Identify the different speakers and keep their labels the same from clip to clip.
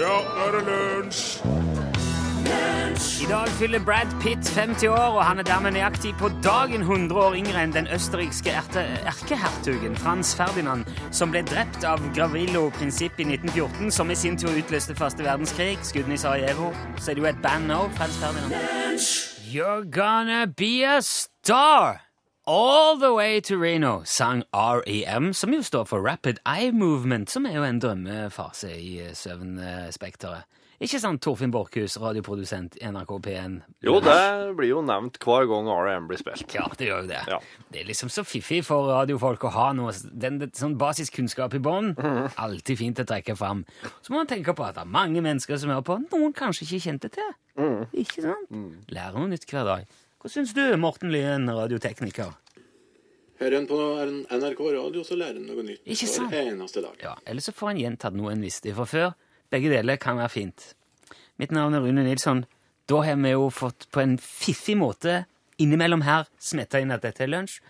Speaker 1: Ja, nå er det lunsj!
Speaker 2: I dag fyller Brad Pitt 50 år, og han er dermed nøyaktig på dagen 100 år yngre enn den østerrikske erte, erkehertugen Frans Ferdinand, som ble drept av Gravillo-prinsippet i 1914, som i sin tur utløste første verdenskrig. Skuddene i Sarajevo. Så er det jo et band nå, Frans Ferdinand. You're gonna be a star! All the way to Reno, sang REM, som jo står for Rapid Eye Movement, som er jo en drømmefase i eh, søvnspekteret. Ikke sant, Torfinn Borchhus, radioprodusent i NRK P1?
Speaker 3: Jo, det blir jo nevnt hver gang R&M blir spilt.
Speaker 2: Ja, det gjør jo det.
Speaker 3: Ja.
Speaker 2: Det er liksom så fiffig for radiofolk å ha noe den, den, sånn basiskunnskap i bånn. Alltid fint å trekke fram. Så må man tenke på at det er mange mennesker som hører på. Noen kanskje ikke kjente til. Ikke sant? Lærer noe nytt hver dag. Hva syns du, Morten Lyen, radiotekniker?
Speaker 4: Hører en på NRK radio, så lærer en noe nytt
Speaker 2: Ikke sant?
Speaker 4: hver eneste dag.
Speaker 2: Ja, Eller så får han gjentatt noe en visste fra før. Begge deler kan være fint. Mitt navn er Rune Nilsson. Da har vi jo fått på en fiffig måte innimellom her smetta inn at dette er lunsj.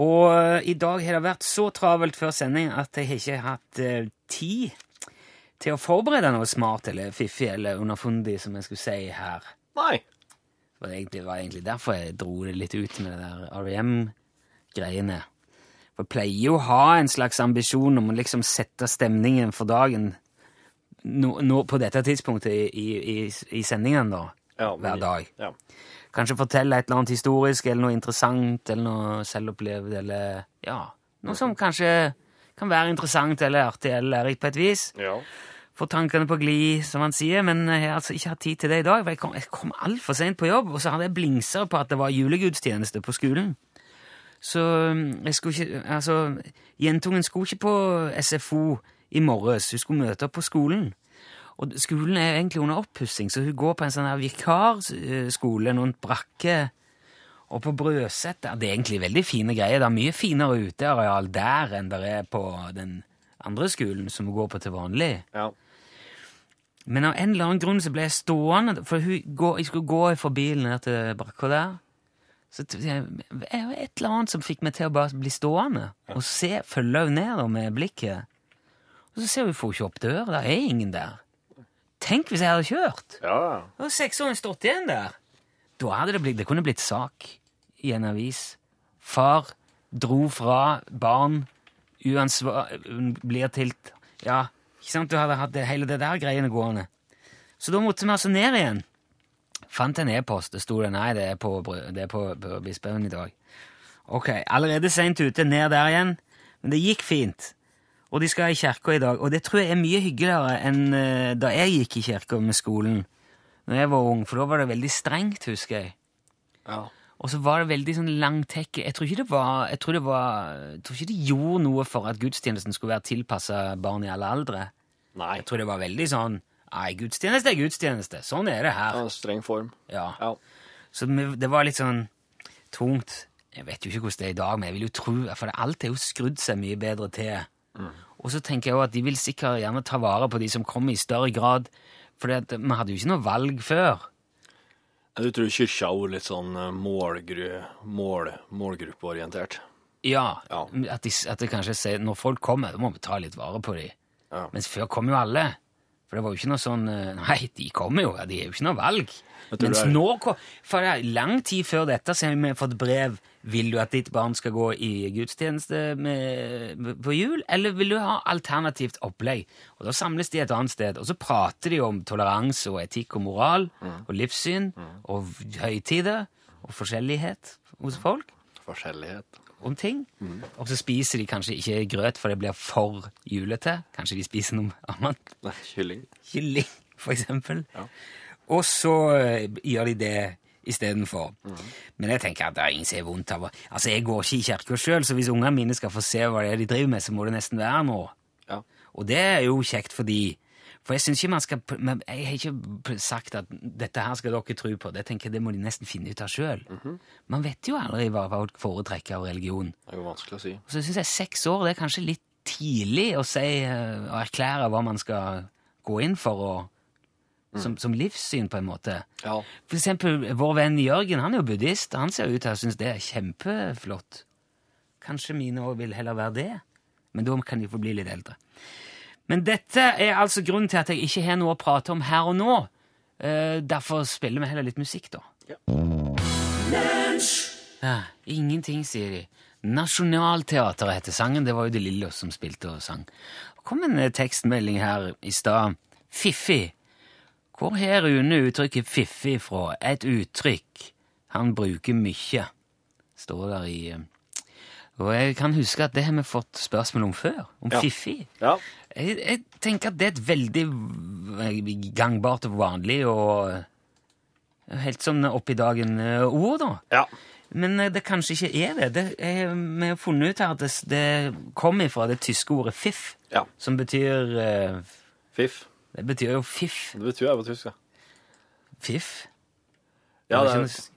Speaker 2: Og eh, i dag har det vært så travelt før sending at jeg har ikke hatt eh, tid til å forberede noe smart eller fiffig eller underfundig som jeg skulle si her.
Speaker 3: Nei.
Speaker 2: Det var egentlig, det var egentlig derfor jeg dro det litt ut med det der REM-greiene. For jeg pleier jo å ha en slags ambisjon om å liksom sette stemningen for dagen nå, nå på dette tidspunktet i, i, i, i sendingen, da.
Speaker 3: Ja, men-
Speaker 2: hver dag.
Speaker 3: Ja.
Speaker 2: Kanskje fortelle et eller annet historisk, eller noe interessant, eller noe selvopplevd, eller ja, noe som kanskje kan være interessant eller artig eller lærerikt på et vis
Speaker 3: ja.
Speaker 2: få tankene på glid, som han sier, men jeg har altså ikke hatt tid til det i dag. for Jeg kom, jeg kom altfor seint på jobb, og så hadde jeg blingser på at det var julegudstjeneste på skolen. Så mm, jeg skulle ikke Altså, jentungen skulle ikke på SFO i morges, hun skulle møte opp på skolen. Og skolen er egentlig under oppussing, så hun går på en sånn her vikarskole, noen brakker. Og på Brøset Det er egentlig veldig fine greier. Det er mye finere uteareal der enn det er på den andre skolen som hun går på til vanlig.
Speaker 3: ja.
Speaker 2: Men av en eller annen grunn så ble jeg stående, for hun går, jeg skulle gå fra bilen ned til brakka der. Så t- jeg- det er jo et eller annet som fikk meg til å bare bli stående og se, følge henne ned da, med blikket. Og så ser hun, hun får ikke opp døra, det er ingen der. Tenk hvis jeg hadde kjørt!
Speaker 3: Ja, ja.
Speaker 2: Da hadde seksåringen stått igjen der. Da hadde det blitt, det kunne blitt sak i en avis. Far dro fra barn, uansvar, blir til Ja, ikke sant? Du hadde hatt det, hele det der greiene gående. Så da måtte vi altså ned igjen. Fant en e-post. Det sto det nei, det er på, Brø- det er på, på Bispehaugen i dag. Ok, allerede seint ute, ned der igjen. Men det gikk fint. Og de skal i kirka i dag. Og det tror jeg er mye hyggeligere enn eh, da jeg gikk i kirka med skolen når jeg var ung, for da var det veldig strengt, husker jeg.
Speaker 3: Ja.
Speaker 2: Og så var det veldig sånn langtekke. Jeg tror ikke det var Jeg tror, det var, jeg tror ikke det gjorde noe for at gudstjenesten skulle være tilpassa barn i alle aldre.
Speaker 3: Nei.
Speaker 2: Jeg tror det var veldig sånn Nei, gudstjeneste er gudstjeneste. Sånn er det her.
Speaker 3: Ja, streng form.
Speaker 2: Ja.
Speaker 3: Ja.
Speaker 2: Så vi- det var litt sånn tungt. Jeg vet jo ikke hvordan det er i dag, men jeg vil jo tro For alt er jo skrudd seg mye bedre til. Og så tenker jeg jo at de vil sikkert gjerne ta vare på de som kommer i større grad. For vi hadde jo ikke noe valg før.
Speaker 3: Du tror kyrkja har vært litt sånn eh, målgru, mål, målgruppeorientert?
Speaker 2: Ja,
Speaker 3: Ja.
Speaker 2: At, de, at det kanskje sier når folk kommer, da må vi ta litt vare på dem.
Speaker 3: Ja.
Speaker 2: Mens før kom jo alle. For det var jo ikke noe sånn eh, Nei, de kommer jo, ja, de har jo ikke noe valg.
Speaker 3: Vet du
Speaker 2: Mens
Speaker 3: det er-
Speaker 2: nå kom For det er lang tid før dette så har vi fått brev Vil du at ditt barn skal gå i gudstjeneste med, på jul, eller vil du ha alternativt opplegg? Og Da samles de et annet sted, og så prater de om toleranse og etikk og moral
Speaker 3: Mm.
Speaker 2: og livssyn og v- høytider og forskjellighet hos folk
Speaker 3: Forskjellighet.
Speaker 2: om ting. Og så spiser de kanskje ikke grøt, for det blir for julete. Kanskje de spiser noe annet.
Speaker 3: Nei, kylling.
Speaker 2: Kylling, for eksempel. Og så eh, gjør de det istedenfor. Men jeg tenker at det er ingen som har vondt av å Altså, jeg går ikke i kirka sjøl, så hvis ungene mine skal få se hva det er de driver med, så må det nesten være noe.
Speaker 3: Ja.
Speaker 2: Og det er jo kjekt fordi For jeg syns ikke man skal men Jeg har ikke sagt at dette her skal dere tro på. Det tenker jeg det må de nesten finne ut av sjøl. Man vet jo aldri hva folk foretrekker av religion.
Speaker 3: Det er jo vanskelig å si.
Speaker 2: Og så syns jeg seks år det er kanskje litt tidlig å si eh, å erklære hva man skal gå inn for og, som, som livssyn, på en måte.
Speaker 3: Ja.
Speaker 2: For eksempel vår venn Jørgen, han er jo buddhist. Han ser ut til å synes det er kjempeflott. Kanskje mine òg vil heller være det, men da kan de få bli litt eldre. Men dette er altså grunnen til at jeg ikke har noe å prate om her og nå. Eh, derfor spiller vi heller litt musikk, da. Ja, ingenting, sier de. Nationalteatret heter sangen. Det var jo De Lille som spilte og sang. Det kom en eh, tekstmelding her i stad. Fiffig. Hvor har Rune uttrykket fiffig fra? Et uttrykk han bruker mye, står der i eh, Og jeg kan huske at det har vi fått spørsmål om før. Om
Speaker 3: Ja.
Speaker 2: fiffig.
Speaker 3: Ja.
Speaker 2: Jeg, jeg tenker at det er et veldig v- gangbart og vanlig og helt sånn opp i dagen eh, ord, da.
Speaker 3: ja.
Speaker 2: Men eh, det kanskje ikke er det. det er, vi har funnet ut her at det, s- det kom ifra det tyske ordet fiff,
Speaker 3: Ja.
Speaker 2: som betyr eh,
Speaker 3: Fiff.
Speaker 2: Det betyr jo fiff.
Speaker 3: Det betyr jeg på tysk, ja.
Speaker 2: Fiff?
Speaker 3: ja det
Speaker 2: Det var
Speaker 3: er,
Speaker 2: ikke noe-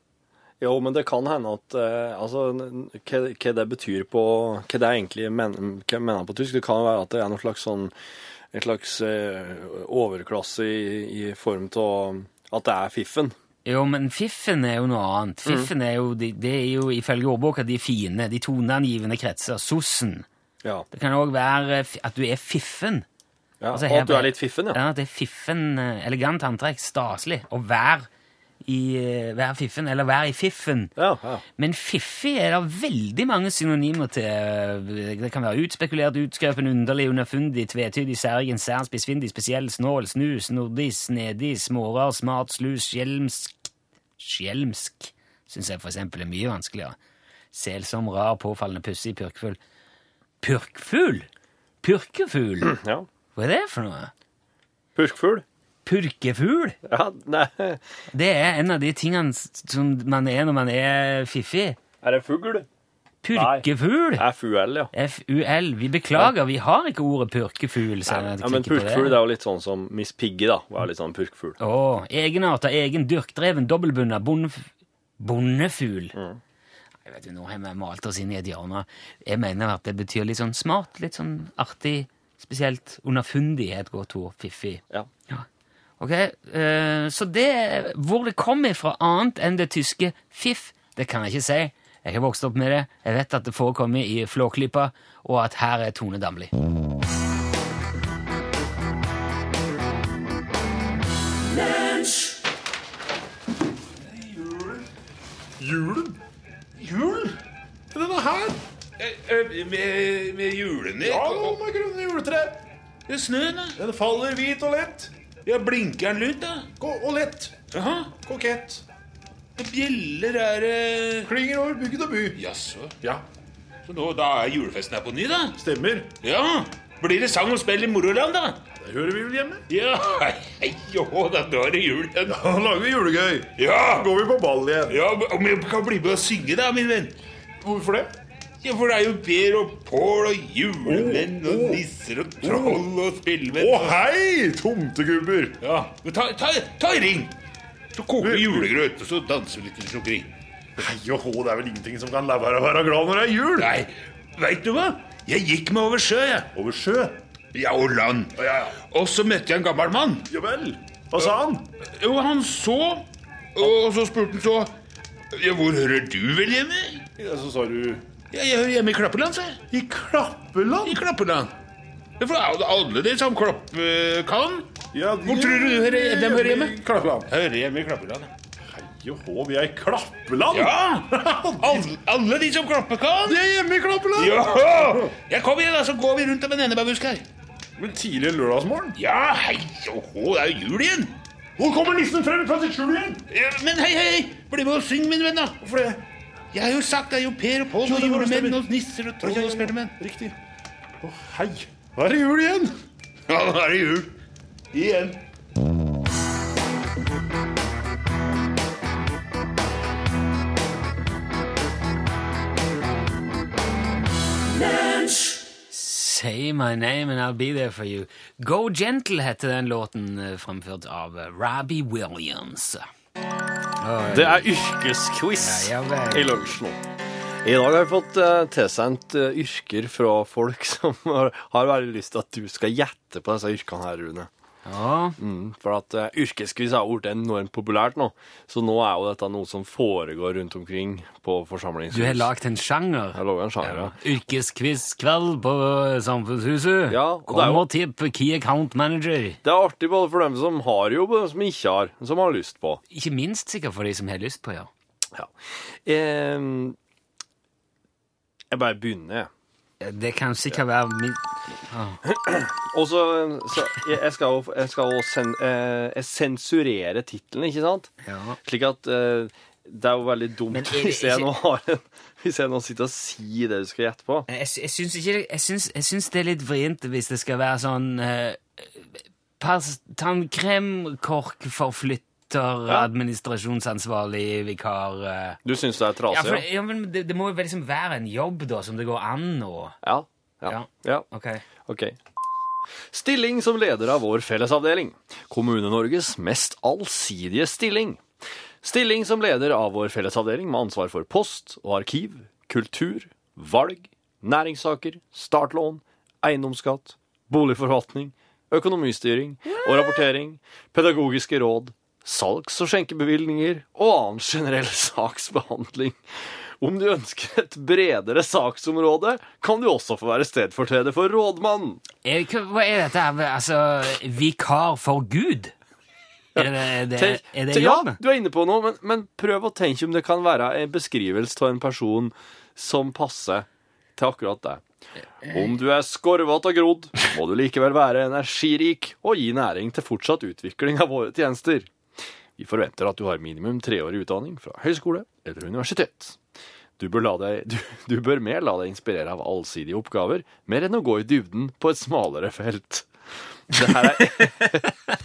Speaker 3: jo, men det kan hende at eh, Altså, n- hva hva det betyr på Hva det egentlig men, hva jeg mener på tysk, det kan være at det er noen slags sånn En slags eh, overklasse i, i form av at det er fiffen.
Speaker 2: Jo, men fiffen er jo noe annet. Fiffen er jo, de- det er jo ifølge ordboka de fine, de toneangivende kretser. Sossen.
Speaker 3: Ja.
Speaker 2: Det kan òg være eh, fi- at du er fiffen.
Speaker 3: ja.
Speaker 2: Altså,
Speaker 3: og
Speaker 2: her
Speaker 3: at du
Speaker 2: ble-
Speaker 3: er litt fiffen, ja.
Speaker 2: Ja, det er fiffen, eh, elegant antrekk, staselig. Og vær i, eh, vær fiffen, eller vær i fiffen.
Speaker 3: Ja, ja.
Speaker 2: Men fiffig er det veldig mange synonymer til. eh, Det kan være utspekulert, utskrepen, underlig, underfundig, tvetydig, særgen, sær, spissfindig, spesiell, snål, snu, snordig, snedig, smårar, smart, slus, skjelmsk Skjelmsk syns jeg for eksempel er mye vanskeligere. Selsom, rar, påfallende, pussig, purkfull. Purkfugl? Purkefugl?
Speaker 3: ja.
Speaker 2: Hva er det for noe?
Speaker 3: Purkfugl.
Speaker 2: Purkefugl?
Speaker 3: Ja, nei Er
Speaker 2: Det er en av de tingene s- som man er når man er fiffig.
Speaker 3: det fugl?
Speaker 2: Purkefugl!
Speaker 3: Det er fugl, ja.
Speaker 2: FUL. Vi beklager, vi har ikke ordet purkefugl. så jeg
Speaker 3: ja men
Speaker 2: klikker på
Speaker 3: purkfugl er jo litt sånn som Miss Piggy, da. Var litt sånn purkfugl.
Speaker 2: Å, egenarter, egen dyrkdreven, dobbeltbunna, bondef bondefugl.
Speaker 3: Mm.
Speaker 2: Jeg vet jo, Nå har vi malt oss inn i et hjørne. Jeg mener at det betyr litt sånn smart, litt sånn artig, spesielt underfundig er et godt ord. Fiffig.
Speaker 3: Ja.
Speaker 2: Ja. Ok, eh, så det Hvor det kommer fra annet enn det tyske fiff, det kan jeg ikke si. Jeg har vokst opp med det. Jeg vet at det forekommer i Flåklypa, og at her er Tone Damli.
Speaker 1: Julen? Jul? Denne her?
Speaker 5: Med, med julene?
Speaker 1: Ja, nå med grønne juletre.
Speaker 5: Det er snøen, da.
Speaker 1: Den faller hvit og lett.
Speaker 5: Ja, blinker den ut, da?
Speaker 1: Ko- Og lett.
Speaker 5: Jaha.
Speaker 1: Kokett.
Speaker 5: Bjeller er det
Speaker 1: Klinger over bygd og by.
Speaker 5: Jaså.
Speaker 1: Ja,
Speaker 5: Så nå, da er julefesten her på ny, da?
Speaker 1: stemmer.
Speaker 5: Ja. Blir det sang og spill i moroland, da?
Speaker 1: Der hører vi vel hjemme.
Speaker 5: Ja, hei, jo, da, da er det jul igjen.
Speaker 1: Da lager vi julegøy.
Speaker 5: Ja!
Speaker 1: Da går vi på ball igjen.
Speaker 5: ja! Om jeg kan bli med og synge, da, min venn?
Speaker 1: Hvorfor det?
Speaker 5: Ja, for det er jo Per og Pål og julemenn og nisser og troll og
Speaker 1: Å
Speaker 5: spillmenn.
Speaker 1: hei, tomtegubber.
Speaker 5: Ja, men ta, ta, ta en ring! Så koker vi
Speaker 1: Du-
Speaker 5: julegrøt, og så danser vi litt til sjokkeri.
Speaker 1: Hei og hå, det er vel ingenting som kan la være å være glad når det er jul.
Speaker 5: Nei, veit du hva? Jeg gikk meg over sjø, jeg.
Speaker 1: Over sjø.
Speaker 5: Ja, og land.
Speaker 1: Ja, ja.
Speaker 5: Og så møtte jeg en gammel mann.
Speaker 1: Ja vel. Hva sa han?
Speaker 5: Jo, han så, og så spurte han så Ja, hvor hører du vel hjemme?
Speaker 1: Ja, så sa du
Speaker 5: Ja, jeg hører hjemme i Klappeland, sa jeg.
Speaker 1: I Klappeland.
Speaker 5: I Klappeland. Ja, for alle- alle de som klappe kan,
Speaker 1: Ja,
Speaker 5: Hvor tror du du hører- hvem hører hjemme?
Speaker 1: I Klappeland.
Speaker 5: hører hjemme i Klappeland.
Speaker 1: Joho, vi er i Klappeland!
Speaker 5: Ja! Alle, alle de som klappe kan.
Speaker 1: Vi er hjemme i Klappeland!
Speaker 5: Ja! Jeg kom igjen, da, så går vi rundt om en enebærbusk her.
Speaker 1: Men tidlig lørdagsmorgen
Speaker 5: Ja, hei og hå, det er jo jul igjen.
Speaker 1: Nå kommer nissen frem fra sitt skjul igjen!
Speaker 5: Ja, Men hei, hei, bli med og syng, min venn, da.
Speaker 1: Hvorfor det?
Speaker 5: Jeg har jo sagt det er jo Per og Pål
Speaker 1: Jo,
Speaker 5: og
Speaker 1: det var det,
Speaker 5: julemenn
Speaker 1: stemmer.
Speaker 5: og nisser og troll og spellemenn.
Speaker 1: Riktig. Å, hei. Da er det jul igjen!
Speaker 5: Ja, nå er det jul. Igjen.
Speaker 2: Say my name and I'll be there for you. Go Gentle heter den låten, eh, fremført av eh, Robbie Williams.
Speaker 3: Det er yrkesquiz
Speaker 2: Ja, ja vel.
Speaker 3: i lunsjen. I dag har vi fått eh, tilsendt eh, yrker fra folk som har, har veldig lyst til at du skal gjette på disse yrkene her, Rune.
Speaker 2: Ja.
Speaker 3: Mm, for at uh, yrkesquiz er jo blitt enormt populært nå, så nå er jo dette noe som foregår rundt omkring på forsamlingshus.
Speaker 2: Du har lagd en sjanger.
Speaker 3: Jeg lager en sjanger, ja.
Speaker 2: Yrkesquizkveld på eh, Samfunnshuset.
Speaker 3: Ja, og det er jo-
Speaker 2: Kom og tipp Key Account Manager.
Speaker 3: Det er artig både for dem som har jobb, og dem som ikke har, som har lyst på.
Speaker 2: Ikke minst sikkert for de som har lyst på ja.
Speaker 3: Ja. Eh, jeg bare begynner, jeg.
Speaker 2: Eh, Det kan sikkert være min...
Speaker 3: Og så, så jeg, jeg skal jo jeg skal jo sen, eh, jeg sensurere tittelen, ikke sant?
Speaker 2: Ja.
Speaker 3: Slik at eh, det er jo veldig dumt
Speaker 2: Men er det
Speaker 3: hvis, jeg
Speaker 2: ikke-
Speaker 3: nå har en, hvis jeg nå sitter og sier det du skal gjette på.
Speaker 2: Eh, Jeg, sy- jeg syns ikke det- jeg syns, jeg syns det er litt vrient hvis det skal være sånn eh, pers- Tannkremkorkforflytter,
Speaker 3: Ja.
Speaker 2: administrasjonsansvarlig vikar eh.
Speaker 3: Du syns det er
Speaker 2: Ja,
Speaker 3: trasig?
Speaker 2: for,
Speaker 3: Ja,
Speaker 2: ja, men det, det må jo vel liksom være en jobb, da, som det går an å
Speaker 3: ja. ja.
Speaker 2: Ja.
Speaker 3: ja.
Speaker 2: Ok.
Speaker 3: Ok. Stilling som leder av vår fellesavdeling. Kommune-Norges mest allsidige stilling. Stilling som leder av vår fellesavdeling med ansvar for post og arkiv, kultur, valg, næringssaker, startlån, eiendomsskatt, boligforvaltning, økonomistyring og rapportering, pedagogiske råd, salgs- og skjenkebevilgninger og annen generell saksbehandling. Om du ønsker et bredere saksområde, kan du også få være stedfortreder for rådmannen.
Speaker 2: Er, hva hva er dette her? med- Altså, vikar for Gud? Er det, er det,
Speaker 3: Tenk-
Speaker 2: er det
Speaker 3: tenk- ja,
Speaker 2: jobben?
Speaker 3: du er inne på noe, men, men prøv å tenke om det kan være en beskrivelse av en person som passer til akkurat deg. Om du er skorvete og grodd, må du likevel være energirik og gi næring til fortsatt utvikling av våre tjenester. Vi forventer at du har minimum treårig utdanning fra høyskole eller universitet. Du bør, la deg, du, du bør mer la deg inspirere av allsidige oppgaver, mer enn å gå i dybden på et smalere felt. Det her er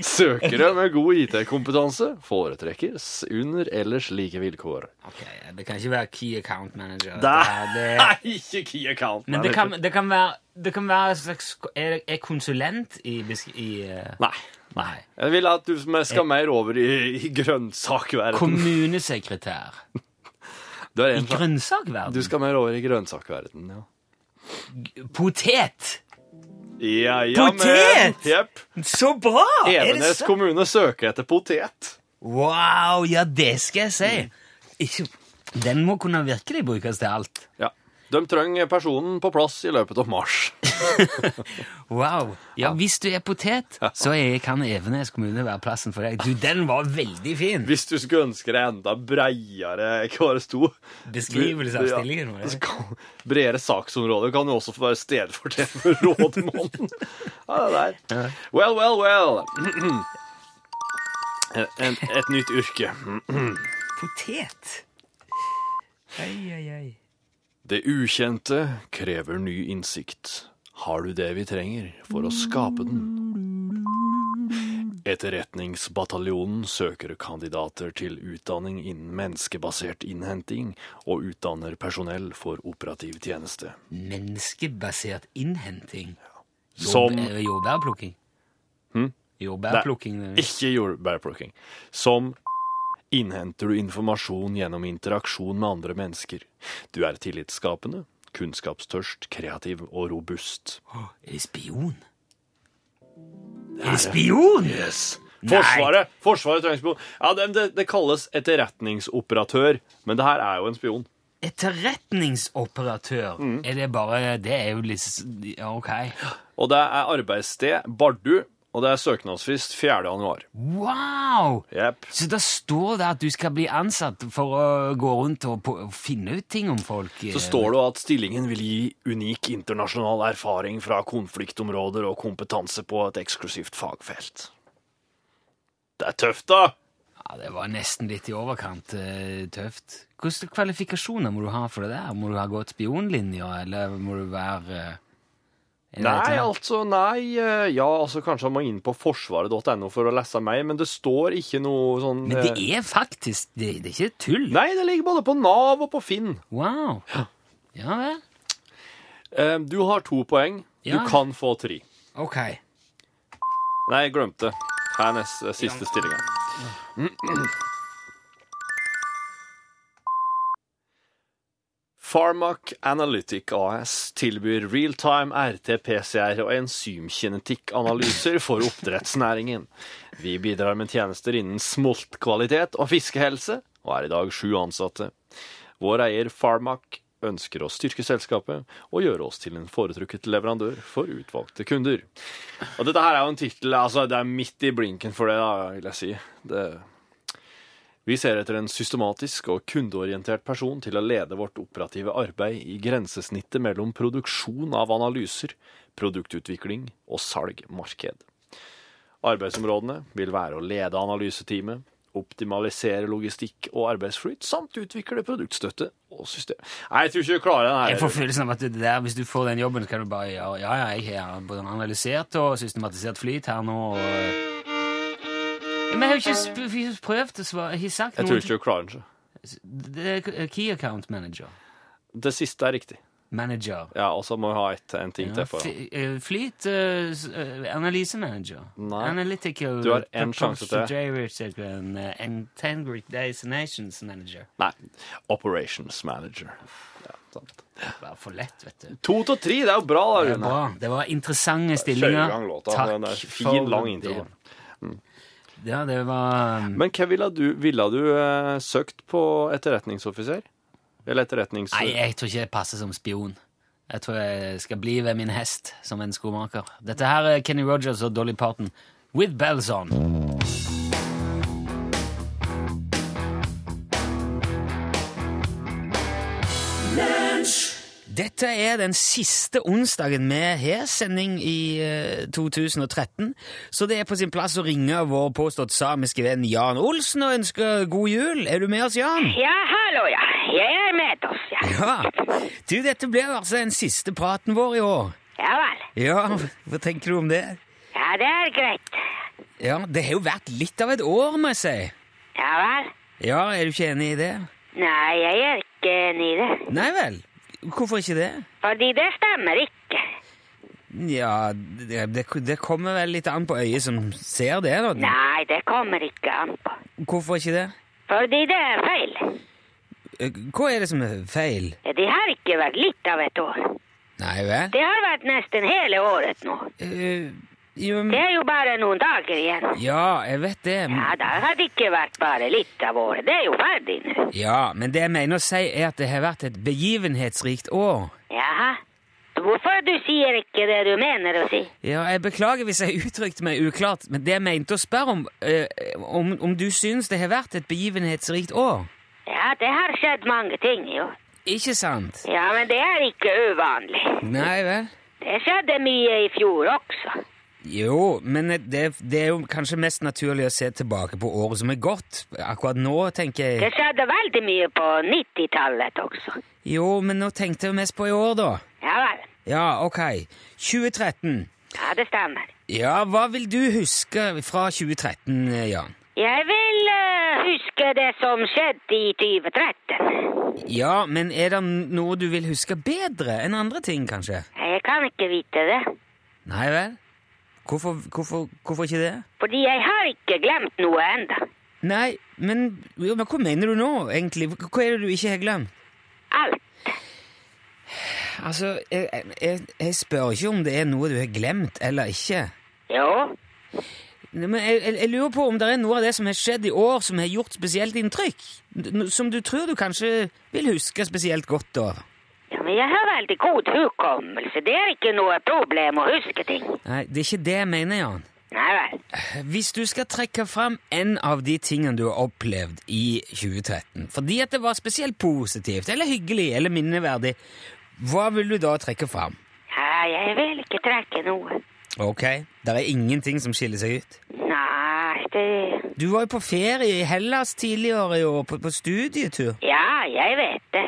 Speaker 3: Søkere med god IT-kompetanse foretrekkes under ellers like vilkår.
Speaker 2: Ok, Det kan ikke være Key Account Manager.
Speaker 3: Det
Speaker 2: dette her, det-
Speaker 3: er ikke key account.
Speaker 2: Men det kan, det kan være, det kan være en slags, er, er konsulent i, besk- i eh,
Speaker 3: Nei.
Speaker 2: Nei.
Speaker 3: Jeg vil at du som er- skal mer over i, i grønnsakverden.
Speaker 2: Kommunesekretær
Speaker 3: Du, er
Speaker 2: i
Speaker 3: en, fra- du
Speaker 2: grønnsakverden.
Speaker 3: skal mer over i grønnsakverden, ja.
Speaker 2: Potet!
Speaker 3: Ja, ja, men,
Speaker 2: Potet!
Speaker 3: Jepp.
Speaker 2: Så bra! Er det
Speaker 3: Evenes
Speaker 2: sant?
Speaker 3: kommune søker etter potet.
Speaker 2: Wow, ja, det skal jeg si. Ikke, den må kunne virkelig brukes til alt.
Speaker 3: Ja. De trenger personen på plass i løpet av mars.
Speaker 2: Wow. Ja, hvis du er potet, så er, kan Evenes kommune være plassen for deg. Du, den var veldig fin!
Speaker 3: Hvis du skulle ønske deg enda breiere hva det sto.
Speaker 2: Beskrivelse av
Speaker 3: Ja.
Speaker 2: stillingen vår.
Speaker 3: Så kan- Bredere saksområder kan jo også få være stedfortreder for rådmannen. Ja, det der. Well, well, well. En, et nytt yrke.
Speaker 2: Potet. Oi, oi, oi.
Speaker 3: Det ukjente krever ny innsikt. Har du det vi trenger for å skape den? Etterretningsbataljonen søker kandidater til utdanning innen menneskebasert innhenting og utdanner personell for operativ tjeneste.
Speaker 2: Menneskebasert innhenting.
Speaker 3: Som- Hm?
Speaker 2: Jordbær- Jordbærplukking. Jordbærplukking. det-
Speaker 3: Ikke jordbærplukking. Som innhenter du informasjon gjennom interaksjon med andre mennesker. Du er tillitsskapende, kunnskapstørst, kreativ og robust.
Speaker 2: Er det spion? Er det spion?
Speaker 3: Yes! Forsvaret Forsvaret trenger spion. Ja, det, det, det kalles etterretningsoperatør, men det her er jo en spion.
Speaker 2: Etterretningsoperatør.
Speaker 3: Hm.
Speaker 2: Er det bare Det er jo litt s- ja, Ok.
Speaker 3: Og det er arbeidssted Bardu, og det er søknadsfrist 4. januar.
Speaker 2: Wow!
Speaker 3: Jepp.
Speaker 2: Så da står det at du skal bli ansatt for å gå rundt og, på, og finne ut ting om folk? eh,
Speaker 3: Så står det jo at stillingen vil gi unik internasjonal erfaring fra konfliktområder og kompetanse på et eksklusivt fagfelt. Det er tøft, da!
Speaker 2: Ja, Det var nesten litt i overkant eh, tøft. Hvilke kvalifikasjoner må du ha for det der? Må du ha gått spionlinja, eller må du være eh, er det
Speaker 3: Nei,
Speaker 2: dette her?
Speaker 3: altså, nei eh, Ja, altså, kanskje han må inn på forsvaret.no for å lese meg, men det står ikke noe sånn
Speaker 2: Men det
Speaker 3: eh,
Speaker 2: er faktisk Det, det er ikke tull.
Speaker 3: Nei, det ligger både på Nav og på Finn.
Speaker 2: Wow. Ja vel.
Speaker 3: Eh, Du har to poeng.
Speaker 2: Ja.
Speaker 3: Du kan få tre.
Speaker 2: Ok.
Speaker 3: Nei, jeg glemte. Her er neste, siste stillinga. Pharmac Analytic AS tilbyr real-time RT-PCR og enzymkinetikkanalyser for oppdrettsnæringen. Vi bidrar med tjenester innen smoltkvalitet og fiskehelse, og er i dag sju ansatte. Vår eier Pharmac ønsker å styrke selskapet og gjøre oss til en foretrukket leverandør for utvalgte kunder. Og dette her er jo en tittel altså, Det er midt i blinken for det, da, vil jeg si. Det, vi ser etter en systematisk og kundeorientert person til å lede vårt operative arbeid i grensesnittet mellom produksjon av analyser, produktutvikling og salgmarked. Arbeidsområdene vil være å lede analyseteamet, optimalisere logistikk og arbeidsflyt, samt utvikle produktstøtte og system. Nei, jeg tror ikke jeg klarer den her.
Speaker 2: Jeg får følelsen av at det der, hvis du får den jobben, kan du bare gjøre Ja, ja, jeg har både analysert og systematisert flyt her nå, og Men jeg har jo ikke sp- vi har prøvd å svare Jeg har sagt
Speaker 3: Jeg
Speaker 2: noe
Speaker 3: tror ikke jeg klarer den. så.
Speaker 2: Det er Key account manager.
Speaker 3: Det siste er riktig.
Speaker 2: Manager.
Speaker 3: Ja, og så må vi ha et, en ting
Speaker 2: Ja,
Speaker 3: til for
Speaker 2: fly- eh, Flyt eh, s- eh, analysemanager.
Speaker 3: Nei.
Speaker 2: Analytical
Speaker 3: Du har en sjanse til.
Speaker 2: eh, Nations manager.
Speaker 3: Nei. Operations manager. Ja, sant.
Speaker 2: Det var for lett, vet du.
Speaker 3: To til tre, det er jo bra, da,
Speaker 2: Det var,
Speaker 3: Rune.
Speaker 2: bra. det var interessante
Speaker 3: Kjører
Speaker 2: stillinger.
Speaker 3: i gang låta. den er
Speaker 2: for
Speaker 3: fin, lang intro. Mm.
Speaker 2: det. Ja, det var um,
Speaker 3: Men hva ville du, ville du eh, søkt på etterretningsoffiser? Eller etterretnings...
Speaker 2: Nei, jeg tror ikke jeg passer som spion. Jeg tror jeg skal bli ved min hest som en skomaker. Dette her er Kenny Rogers og Dolly Parton with bells on. Dette er den siste onsdagen vi har sending i eh, 2013, så det er på sin plass å ringe vår påstått samiske venn Jan Olsen og ønske god jul. Er du med oss, Jan?
Speaker 6: Ja, hallo, ja. Jeg er med oss, ja.
Speaker 2: Ja. Du, dette blir altså den siste praten vår i år.
Speaker 6: Ja vel.
Speaker 2: Ja, hva tenker du om det?
Speaker 6: Ja, det er greit.
Speaker 2: Ja, det har jo vært litt av et år, må jeg si.
Speaker 6: Ja vel.
Speaker 2: Ja, er du ikke enig i det?
Speaker 6: Nei, jeg er ikke enig i det.
Speaker 2: Nei vel. Hvorfor ikke det?
Speaker 6: Fordi det stemmer ikke.
Speaker 2: Ja, det, det, det kommer vel litt an på øyet som ser det, da.
Speaker 6: Nei, det kommer ikke an på.
Speaker 2: Hvorfor ikke det?
Speaker 6: Fordi det er feil.
Speaker 2: Eh, Hva er det som er feil?
Speaker 6: Det har ikke vært litt av et år.
Speaker 2: Nei vel?
Speaker 6: Det har vært nesten hele året nå.
Speaker 2: Eh, jo,
Speaker 6: Det er jo bare noen dager igjen.
Speaker 2: ja, jeg vet det. men-
Speaker 6: Ja, da har det ikke vært bare litt av året. Det er jo ferdig nå.
Speaker 2: Ja, men det jeg mener å si er at det har vært et begivenhetsrikt år.
Speaker 6: Jaha. Hvorfor du sier ikke det du mener å si?
Speaker 2: Ja, jeg beklager hvis jeg uttrykte meg uklart, men det jeg mente å spørre om, eh, om, om du syns det har vært et begivenhetsrikt år?
Speaker 6: Ja, det har skjedd mange ting, jo.
Speaker 2: Ikke sant?
Speaker 6: Ja, men det er ikke uvanlig.
Speaker 2: Nei vel?
Speaker 6: Det skjedde mye i fjor også.
Speaker 2: Jo, men det, det er jo kanskje mest naturlig å se tilbake på året som er gått. Akkurat nå tenker jeg
Speaker 6: Det skjedde veldig mye på 90-tallet også.
Speaker 2: Jo, men nå tenkte jeg mest på i år, da.
Speaker 6: Ja vel.
Speaker 2: Ja, ok. 2013.
Speaker 6: Ja, det stemmer.
Speaker 2: Ja, hva vil du huske fra 2013, eh, Jan?
Speaker 6: Jeg vil eh, huske det som skjedde i 2013.
Speaker 2: Ja, men er det noe du vil huske bedre enn andre ting, kanskje?
Speaker 6: Jeg kan ikke vite det,
Speaker 2: Nei vel? Hvorfor, hvorfor, hvorfor ikke det?
Speaker 6: fordi jeg har ikke glemt noe enda.
Speaker 2: Nei, men, jo, men hva mener du nå, egentlig? Hva er det du ikke har glemt?
Speaker 6: Alt.
Speaker 2: Altså, jeg, jeg- jeg, jeg spør ikke om det er noe du har glemt eller ikke.
Speaker 6: Jo.
Speaker 2: Men jeg, jeg, jeg lurer på om det er noe av det som har skjedd i år som har gjort spesielt inntrykk? N- Som du tror du kanskje vil huske spesielt godt over?
Speaker 6: Ja, men jeg har veldig god hukommelse. Det er ikke noe problem å huske ting.
Speaker 2: Nei, det er ikke det jeg mener, Jan.
Speaker 6: Nei vel.
Speaker 2: Hvis du skal trekke fram en av de tingene du har opplevd i 2013, fordi at det var spesielt positivt, eller hyggelig, eller minneverdig, hva vil du da trekke fram?
Speaker 6: Ja, jeg vil ikke trekke noe.
Speaker 2: Ok, det er ingenting som skiller seg ut.
Speaker 6: Nei, det...
Speaker 2: Du var jo på ferie i Hellas tidligere i år, på, på studietur.
Speaker 6: Ja, jeg vet det.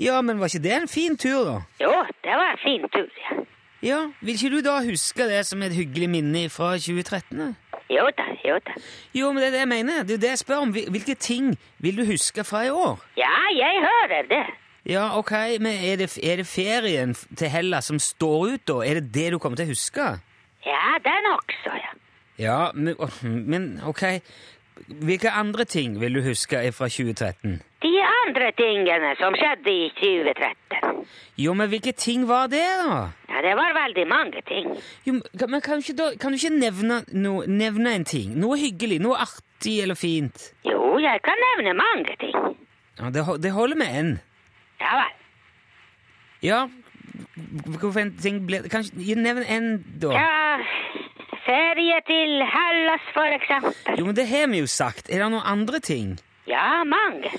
Speaker 2: Ja, men var ikke det en fin tur, da?
Speaker 6: Jo, det var en fin tur, ja.
Speaker 2: Ja, vil ikke du da huske det som et hyggelig minne fra 2013? da?
Speaker 6: Jo da, jo da.
Speaker 2: Jo, men det er det jeg mener. Det er jo det jeg spør om. Hvil- Hvilke ting vil du huske fra i år?
Speaker 6: Ja, jeg hører det.
Speaker 2: Ja, ok, men er det, er det ferien f- til Hellas som står ut, da? Er det det du kommer til å huske?
Speaker 6: Ja, den også, ja.
Speaker 2: Ja, men, åh, men ok. Hvilke andre ting vil du huske fra 2013?
Speaker 6: De andre tingene som skjedde i 2013.
Speaker 2: Jo, men hvilke ting var det, da?
Speaker 6: Ja, det var veldig mange ting.
Speaker 2: Jo, men kan- men kan, du ikke da, kan du ikke nevne, noe- nevne en ting? Noe hyggelig, noe artig eller fint?
Speaker 6: Jo, jeg kan nevne mange ting.
Speaker 2: Ja, det, ho- det holder med en.
Speaker 6: Ja vel.
Speaker 2: Ja, hvorfor en ting ble... Kanskje, nevn en, da.
Speaker 6: Ja, ferie til Hellas, for eksempel.
Speaker 2: Jo, men det har vi jo sagt. Er det noen andre ting?
Speaker 6: Ja, mange.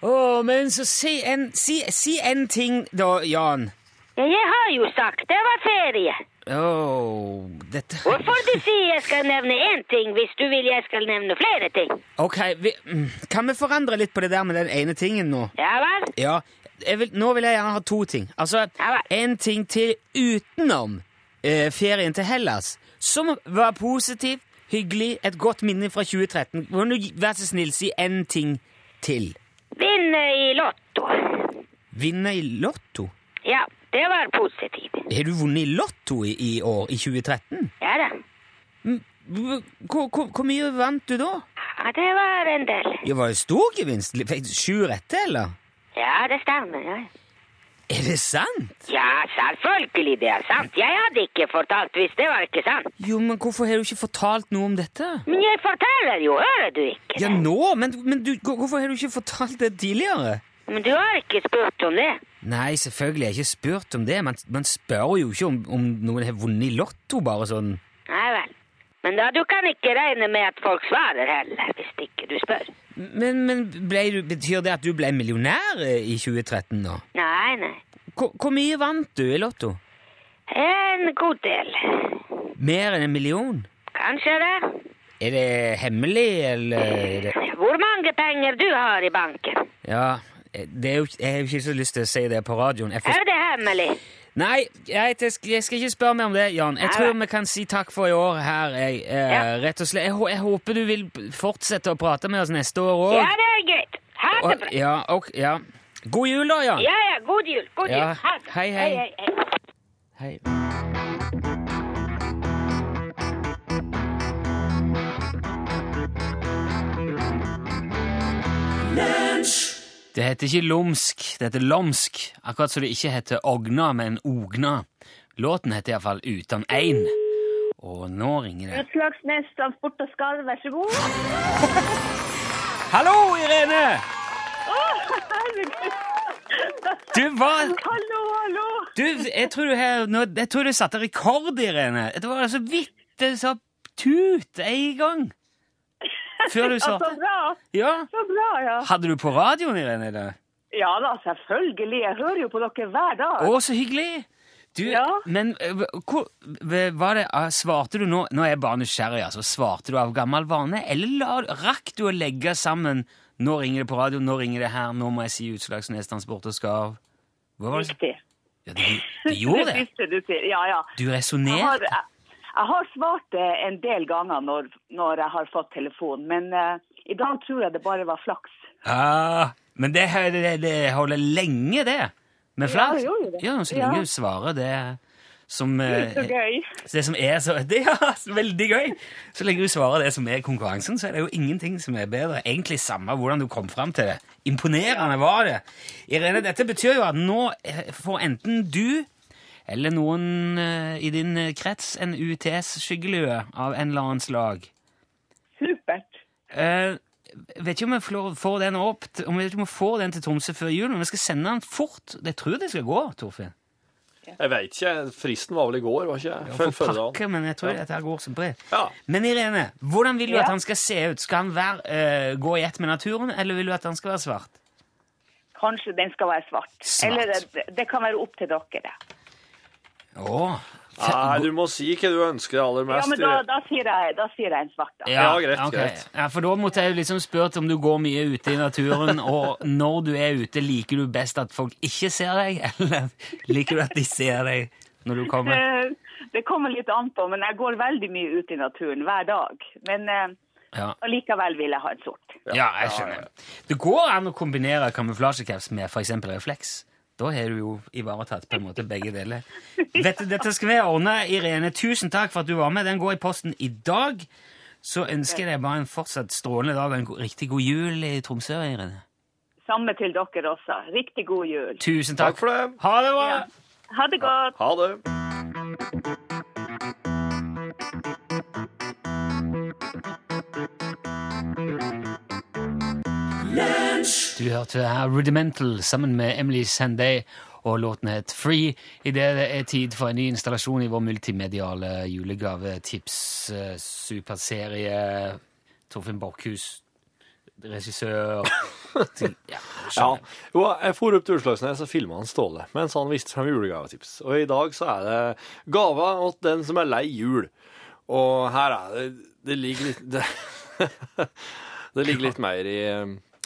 Speaker 2: Å, men så si en, si, si en ting da, Jan.
Speaker 6: Ja, Jeg har jo sagt det var ferie.
Speaker 2: Å, dette
Speaker 6: Hvorfor du sier jeg skal nevne én ting hvis du vil jeg skal nevne flere ting?
Speaker 2: Ok, vi, mm, kan vi forandre litt på det der med den ene tingen nå?
Speaker 6: Ja vel?
Speaker 2: Ja, jeg vil, nå vil jeg gjerne ha to ting. Altså,
Speaker 6: Ja vel.
Speaker 2: en ting til utenom eh, ferien til Hellas, som var positiv, hyggelig, et godt minne fra 2013. Kan du gi- vær så snill si en ting til?
Speaker 6: Vinne i Lotto.
Speaker 2: Vinne i lotto?
Speaker 6: Ja, det var positivt.
Speaker 2: Har du vunnet i lotto i, i år, i 2013?
Speaker 6: Ja da.
Speaker 2: Hvor, hvor, hvor mye vant du da?
Speaker 6: Ja, det var en del.
Speaker 2: Det var jo stor gevinst. Fikk du sju rette, eller?
Speaker 6: Ja, det stemmer. Ja,
Speaker 2: Er det sant?
Speaker 6: ja selvfølgelig det er sant. Jeg hadde ikke fortalt hvis det var ikke sant.
Speaker 2: Jo, men hvorfor har du ikke fortalt noe om dette?
Speaker 6: Men jeg forteller jo, hører du ikke?
Speaker 2: Ja, nå? Men, men du, hvor- hvorfor har du ikke fortalt det tidligere?
Speaker 6: Men du har ikke spurt om det.
Speaker 2: Nei, selvfølgelig har jeg ikke spurt om det. Man, man spør jo ikke om, om noen har vunnet i Lotto, bare sånn.
Speaker 6: Nei vel. Men da, du kan ikke regne med at folk svarer heller, hvis ikke du spør.
Speaker 2: Men, men ble du, betyr det at du ble millionær eh, i 2013 nå?
Speaker 6: Nei, nei.
Speaker 2: Hvor, hvor mye vant du i Lotto?
Speaker 6: En god del.
Speaker 2: Mer enn en million?
Speaker 6: Kanskje det.
Speaker 2: Er det hemmelig, eller er det
Speaker 6: Hvor mange penger du har i banken?
Speaker 2: Ja, eh, det er jo, jeg har jo ikke så lyst til å si det på radioen. Jeg får
Speaker 6: Er det hemmelig?
Speaker 2: Nei, jeg, jeg, skal, jeg skal ikke spørre mer om det, Jan. Jeg
Speaker 6: Nei,
Speaker 2: tror
Speaker 6: nei.
Speaker 2: vi kan si takk for i år her. Jeg, eh,
Speaker 6: Ja.
Speaker 2: rett og slett. Jeg, hå- jeg håper du vil fortsette å prate med oss neste år òg.
Speaker 6: Ja, det er greit. Ha det bra.
Speaker 2: ja, ok, ja. God jul, da, Jan.
Speaker 6: Ja, ja, god jul. God jul.
Speaker 2: Ja.
Speaker 6: Ha det.
Speaker 2: Hei, hei.
Speaker 6: hei, hei.
Speaker 2: Hei. Det heter ikke lomsk, det heter lomsk. Akkurat som det ikke heter ogna, men ogna. Låten heter iallfall Utan ein. Og nå ringer det.
Speaker 7: Utslagsnes Transport og Skarv, vær så god.
Speaker 2: Hallo, Irene!
Speaker 7: Herregud.
Speaker 2: Du, hva
Speaker 7: Hallo, hallo.
Speaker 2: Du, jeg tror du, her, nå, jeg tror du satte rekord, Irene. Det var så vidt det sa tut en gang. Før du
Speaker 7: Ja, så
Speaker 2: svarte.
Speaker 7: bra.
Speaker 2: Ja.
Speaker 7: Så bra, ja.
Speaker 2: Hadde du på radioen, Irene? Eller?
Speaker 7: Ja da, selvfølgelig. Jeg hører jo på dere hver dag.
Speaker 2: Å, så hyggelig! Du,
Speaker 7: Ja.
Speaker 2: men eh, hvor, var det, ah, svarte du nå Nå er jeg bare nysgjerrig, altså. Svarte du av gammel vane, eller la, rakk du å legge sammen Nå ringer det på radio, nå ringer det her, nå må jeg si Utslagsnes Transport og Skarv? Hva var det? som-
Speaker 7: Riktig.
Speaker 2: Ja, du, du gjorde det?
Speaker 7: siste du sier. Ja, ja.
Speaker 2: Du
Speaker 7: Jeg har,
Speaker 2: resonnerte?
Speaker 7: jeg, jeg har svart det en del ganger når, når jeg har fått telefon, men eh, i dag tror jeg det bare var flaks.
Speaker 2: Ah, men det, det, det holder lenge, det. Med flaks.
Speaker 7: det gjorde det.
Speaker 2: Ja, så lenge
Speaker 7: Ja.
Speaker 2: du svarer det som eh,
Speaker 7: Så gøy.
Speaker 2: det som er så Det er veldig gøy! Så lenge du svarer det som er konkurransen, så er det jo ingenting som er bedre. Egentlig samme hvordan du kom fram til det. Imponerende var det. Irene, dette betyr jo at nå eh, får enten du eller noen eh, i din eh, krets en UTS-skyggelue av en eller annen slag.
Speaker 7: Supert.
Speaker 2: Eh, vet ikke om jeg flår- får den opp til, om jeg vet ikke om jeg får den til Tromsø før jul, men vi skal sende den fort. Jeg tror det skal gå, Torfinn.
Speaker 3: Jeg veit ikke. Fristen var vel i går, var ikke jeg?
Speaker 2: For
Speaker 3: Før forrige
Speaker 2: pakke, men jeg tror dette her går som brev.
Speaker 3: Ja.
Speaker 2: Men Irene, hvordan vil du
Speaker 7: Ja.
Speaker 2: at han skal se ut? Skal han være, eh, gå i ett med naturen, eller vil du at han skal være svart?
Speaker 7: Kanskje den skal være svart.
Speaker 2: Svart.
Speaker 7: Eller eh, det, det kan være opp til dere.
Speaker 2: Åh.
Speaker 3: Nei, du må si hva du ønsker deg aller
Speaker 7: Ja,
Speaker 3: mest.
Speaker 7: men da, da, sier, jeg, da sier jeg en svart, da.
Speaker 3: Ja, greit,
Speaker 2: ok.
Speaker 3: greit.
Speaker 2: Ja, for da måtte jeg jo liksom spørre om du går mye ute i naturen, og når du er ute, liker du best at folk ikke ser deg, eller liker du at de ser deg når du kommer?
Speaker 7: Eh, Det kommer litt an på, men jeg går veldig mye ut i naturen hver dag. Men eh,
Speaker 2: Ja.
Speaker 7: allikevel vil jeg ha en sort.
Speaker 2: Ja, jeg skjønner. Det går an å kombinere kamuflasjecaps med f.eks. refleks. Da har du jo ivaretatt på en måte begge deler. Dette, dette skal vi ordne, Irene. Tusen takk for at du var med. Den går i posten i dag. Så ønsker jeg deg bare en fortsatt strålende dag og en go- riktig god jul i Tromsø, Irene.
Speaker 7: Samme til dere også. Riktig god jul.
Speaker 2: Tusen takk.
Speaker 3: Takk for det.
Speaker 2: Ha det bra!
Speaker 7: Ja. Ha det godt.
Speaker 3: Ha det.
Speaker 2: Du hørte her Rudimental sammen med Emily Sanday, og låten het Free. I det det er tid for en ny installasjon i vår multimediale julegavetips-superserie. Torfinn Borchhus, regissør til, ja,
Speaker 3: Ja.
Speaker 2: skjønner.
Speaker 3: Jo, jeg for opp til Utslagsnes og filma han Ståle mens han viste frem julegavetips. Og i dag så er det gava åt den som er lei jul. Og her er det Det ligger litt Det, det ligger litt mer i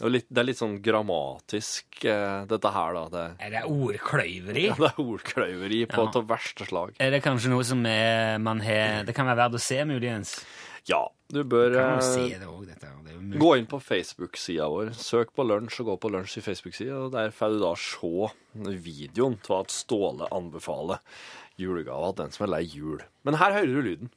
Speaker 3: og litt, Det er litt sånn grammatisk, eh, dette her, da. Det,
Speaker 2: Er det ordkløyveri?
Speaker 3: det er ordkløyveri på
Speaker 2: Ja.
Speaker 3: det verste slag.
Speaker 2: Er det kanskje noe som er, man har Det kan være verdt å se, muligens.
Speaker 3: Ja, du bør
Speaker 2: Kan man se
Speaker 3: eh,
Speaker 2: det også, dette? her? Det er jo mulig.
Speaker 3: Gå inn på Facebook-sida vår. Søk på lunsj og gå på lunsj i Facebook-sida. og Der får du da se videoen til at Ståle anbefaler julegava til den som er lei jul. Men her hører du lyden.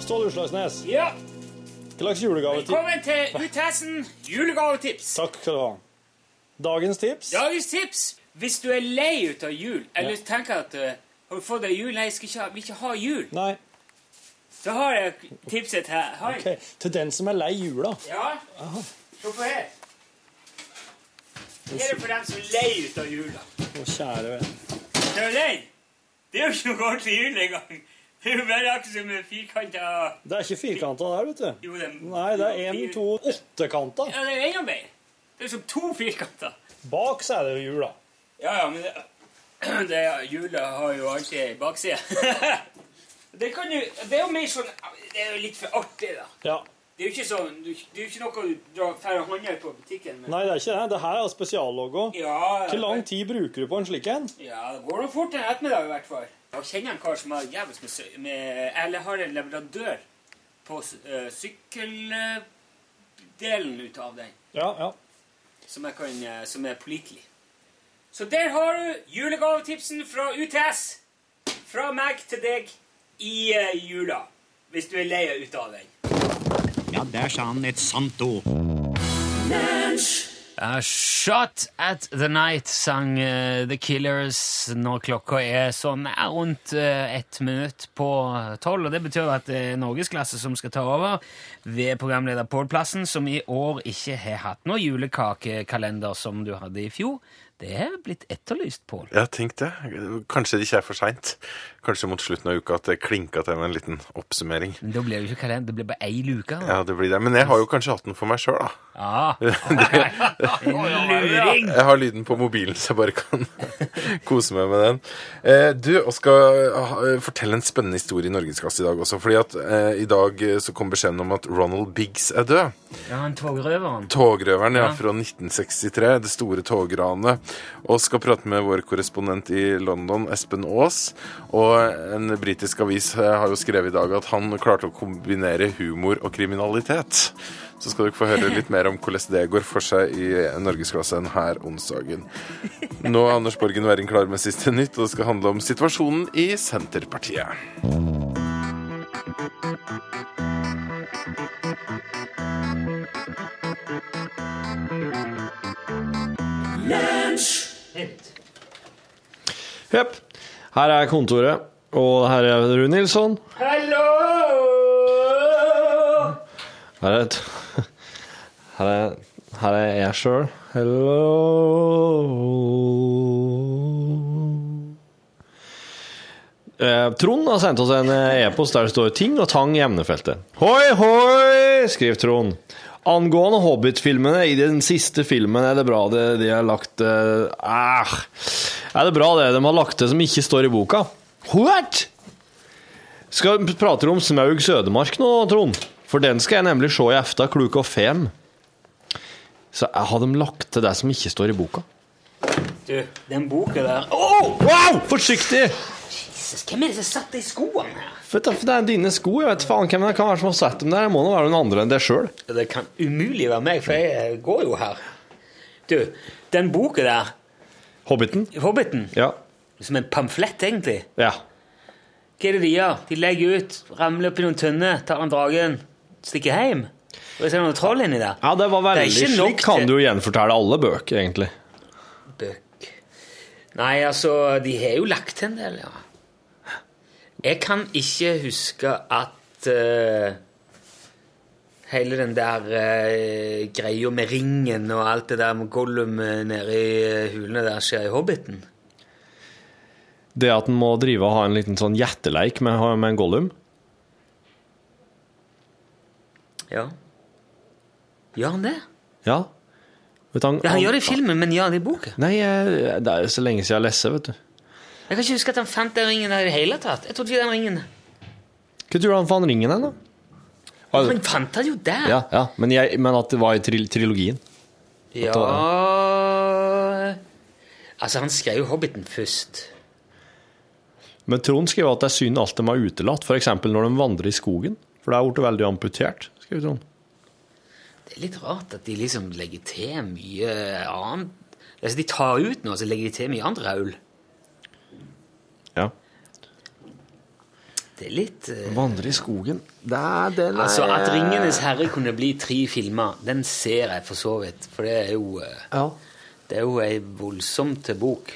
Speaker 3: Ståle Utslagsnes,
Speaker 2: Ja,
Speaker 3: hva slags julegave
Speaker 2: velkommen til Utesen julegavetips.
Speaker 3: Takk skal du ha. Dagens tips?
Speaker 2: Dagens tips hvis du er lei ut av jul, eller tenker at eh, har du fått deg jul? Nei, jeg skal ikke ha, vil ikke ha jul.
Speaker 3: Nei.
Speaker 2: Så har jeg tipset her. Har jeg.
Speaker 3: Til den som er lei jula.
Speaker 2: Ja, se på her. Her er det for dem som er lei ut av jula.
Speaker 3: Å, kjære venn.
Speaker 2: Er du lei? Det er jo ikke noe ordentlig jul engang. Det er jo bare akkurat som en firkanta
Speaker 3: Det er ikke firkanta der, vet du.
Speaker 2: Jo, det er-
Speaker 3: Nei, det er én, to, åttekanta.
Speaker 2: Ja, det er enda mer. Det er som to firkanter.
Speaker 3: Bak så er det jo jula.
Speaker 2: Ja, ja, men det, det er- hjulet har jo alltid ei bakside. det, kan jo, det er jo mer sånn Det er jo litt for artig, da.
Speaker 3: Ja.
Speaker 2: Det er jo ikke sånn, du- det er jo ikke noe du drar færre håndjern på butikken med.
Speaker 3: Nei, det er ikke det. Det her er spesiallogo.
Speaker 2: Ja,
Speaker 3: Hvor lang tid bruker du på en slik en?
Speaker 2: ja, det går nå fort en ettermiddag i hvert fall. Jeg kjenner en kar som har jævlig med, sø- med Eller har en leverandør på sykkeldelen ut av den.
Speaker 3: Ja, ja.
Speaker 2: som, jeg kan, eh, som er pålitelig. Så der har du julegavetipsen fra UTS. Fra meg til deg i eh, jula. Hvis du er lei ut av den.
Speaker 8: Ja, der sa
Speaker 3: sånn
Speaker 8: han et sant ord.
Speaker 2: Uh, shot at the Night sang eh, The Killers når klokka er sånn eh, rundt eh, ett minutt på tolv. Og det betyr at det er norgesklasse som skal ta over ved programleder Pål Plassen, som i år ikke har hatt noe julekakekalender som du hadde i fjor. Det er blitt etterlyst, Pål.
Speaker 9: Ja, tenk det. Kanskje det ikke er for seint. Kanskje mot slutten av uka at det klinka til med en liten oppsummering.
Speaker 2: Men da blir det jo ikke kalender, det blir bare ei luke. da.
Speaker 9: Ja, det blir det. Men jeg har jo kanskje hatt den for meg sjøl, da.
Speaker 2: Ah. Luring!
Speaker 9: Jeg har lyden på mobilen, så jeg bare kan kose meg med den. Eh, du, og skal
Speaker 1: ah,
Speaker 9: eh, fortelle en spennende historie i Norgesklasse i dag også. fordi at eh, i dag eh, så kom beskjeden om at Ronald Biggs er død.
Speaker 2: Ja, han togrøveren.
Speaker 9: Togrøveren ja, fra 1963, det store
Speaker 1: ah.
Speaker 9: togranet. Og skal prate med vår korrespondent i London, Espen Aas. Og en britisk avis eh, har jo skrevet i dag at han klarte å kombinere humor og kriminalitet. Så skal dere få høre litt mer om hvordan det går for seg i Norgesklassen her onsdagen. Nå er Anders Borgen Werring klar med siste nytt, og det skal handle om situasjonen i Senterpartiet.
Speaker 3: Jepp. Her er kontoret, og her er Rune Nilsson.
Speaker 2: Hallo!
Speaker 3: Her er, et, her er, her er jeg sjøl. Hello. Eh, Trond har sendt oss en eh, e-post der det står 'ting og tang i emnefeltet'. Hoi, hoi, skriver Trond. Angående Hobbit-filmene, i den siste filmen er det bra det de har lagt eh, ah, Er det bra det de har lagt til som ikke står i boka? What? Skal Prater du om Smaug Sødemark nå, Trond? For den skal jeg nemlig se i efta klukka fem. Så jeg har de lagt til det som ikke står i boka?
Speaker 2: Du, den boka der Å,
Speaker 3: Oh, wow! Forsiktig!
Speaker 2: Jesus, Hvem er det som satt i skoene her?
Speaker 3: Vet du, for Det er dine sko. Jeg vet faen hvem det kan være som har sett dem der. Det må nå være noen andre enn deg sjøl.
Speaker 2: Det kan umulig være meg, for jeg eh, går jo her. Du, den boka der,
Speaker 3: Hobbiten?
Speaker 2: Hobbiten,
Speaker 3: Ja.
Speaker 2: som en pamflett, egentlig
Speaker 3: Ja.
Speaker 2: Hva er det de gjør? De legger ut, ramler oppi noen tønner, tar en dragen, stikker hjem. Og jeg ser noen troll inni der.
Speaker 3: Ja, det var veldig
Speaker 2: Det er ikke nok
Speaker 3: Slik kan
Speaker 2: til-
Speaker 3: du jo gjenfortelle alle bøker, egentlig.
Speaker 2: Bøk. Nei, altså, de har jo lagt til en del, ja. Jeg kan ikke huske at eh, hele den der eh, greia med ringen og alt det der med Gollum eh, nede i eh, hulene der skjer i Hobbiten.
Speaker 3: Det at en må drive og ha en liten sånn gjetteleik med, med en Gollum.
Speaker 2: Ja. Gjør han det?
Speaker 3: Ja. Vet du, han,
Speaker 2: Ja, han gjør det i filmen, men gjør han det i boka?
Speaker 3: Nei, eh, det er så lenge siden jeg har lest det, vet du.
Speaker 2: Jeg kan ikke huske at han fant den ringen der i det hele tatt. Jeg trodde ikke den ringen
Speaker 3: Hva tror du han fant ringen hen, da? Altså,
Speaker 2: Men fant han jo der?
Speaker 3: ja, ja, men, jeg, men at det var i tril trilogien.
Speaker 2: Ja Altså, han skrev jo 'Hobbiten' først.
Speaker 3: Men Trond skriver at det er synd alt de har utelatt, f.eks. når de vandrer i skogen. For det har blitt veldig amputert, skriver Trond.
Speaker 2: Det er litt rart at de liksom legger til mye annet Altså, De tar ut noe, så legger de til mye annet raul.
Speaker 3: Ja.
Speaker 2: Det er litt eh,
Speaker 3: Vandre i skogen Det er det
Speaker 2: Altså, At 'Ringenes herre' kunne bli tre filmer, den ser jeg for så vidt. For det er jo eh,
Speaker 3: ja.
Speaker 2: Det er jo ei voldsomt til bok.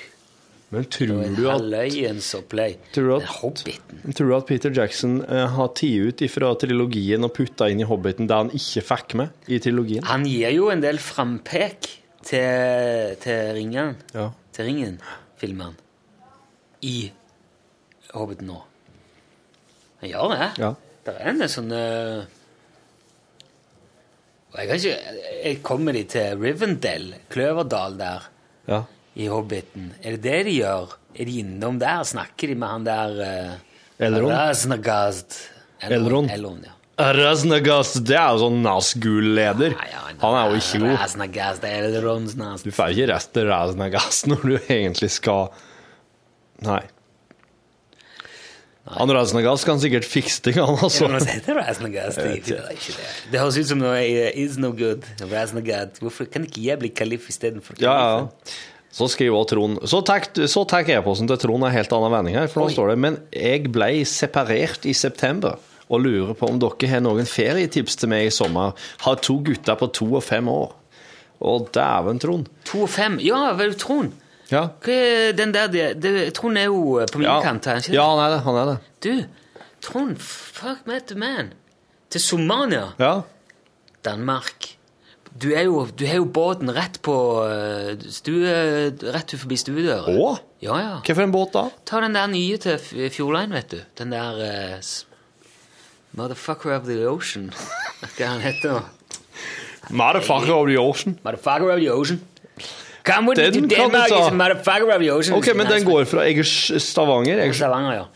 Speaker 3: Men tror
Speaker 2: En
Speaker 3: du, at,
Speaker 2: halvøyens opplegg.
Speaker 3: Tror du at-
Speaker 2: Men 'Hobbiten'
Speaker 3: tror du at Peter Jackson eh, har tatt ut ifra trilogien og putta inn i Hobbiten det han ikke fikk med i trilogien?
Speaker 2: Han gir jo en del frampek til, til ringen.
Speaker 3: Ja.
Speaker 2: Til ringen, filmer han. I Hobbiten nå. Han gjør det.
Speaker 3: Ja.
Speaker 2: Det er en del sånne Og jeg kan ikke Jeg kommer de til Rivendell, Kløverdal der,
Speaker 3: ja.
Speaker 2: i Hobbiten. Er det det de gjør? Er de innom der? Snakker de med han der eh,
Speaker 3: Elrond?
Speaker 2: Raznagast?
Speaker 3: Elrond.
Speaker 2: Elrond, ja.
Speaker 3: Raznagast, det er jo sånn Nazgul-leder.
Speaker 2: Ja, ja,
Speaker 3: Han er jo ikke god.
Speaker 2: Raznagast, Elrond, Naz-
Speaker 3: Du får ikke rest til Raznagast når du egentlig skal Nei. Han Raznagast kan sikkert fikse ting, han altså.
Speaker 2: Ja, men altså, det er Raznagast, det er ikke- det er ikke det. Det høres ut som noe eh, is no good. Raznagast. Hvorfor kan ikke jeg bli kalif istedenfor
Speaker 3: Ja, ja, ja. Så skriver også Trond Så tar så tar e-posten til Trond en helt annen vending her, for nå
Speaker 2: Oi.
Speaker 3: står det Men jeg ble separert i september og lurer på om dere har noen ferietips til meg i sommer. Har to gutter på to og fem år. Å, dæven, Trond.
Speaker 2: To og fem? Ja, vel, Trond.
Speaker 3: Ja.
Speaker 2: Hva er den der det, det, Trond er jo eh, på min
Speaker 3: Ja.
Speaker 2: kant her. ikke
Speaker 3: ja, han er det. Han er det.
Speaker 2: sant? Du, Trond, fuck me to man. Til Somalia,
Speaker 3: Ja.
Speaker 2: Danmark. Du er jo, du har jo båten rett på eh, stue, rett forbi stuedøra.
Speaker 3: Å?
Speaker 2: Ja, ja.
Speaker 3: Hva for en båt da?
Speaker 2: Ta den der nye til F- Fjordline, vet du. Den der eh, s- Motherfucker of the Ocean. Hva han heter nå?
Speaker 3: Motherfucker of the ocean.
Speaker 2: Motherfucker of the Ocean. Come with
Speaker 3: Den kan
Speaker 2: me to
Speaker 3: du
Speaker 2: Denmark,
Speaker 3: ta.
Speaker 2: it's a motherfucker of the ocean.
Speaker 3: Ok, men den går fra Egers Stavanger. Egers,
Speaker 2: Stavanger, ja.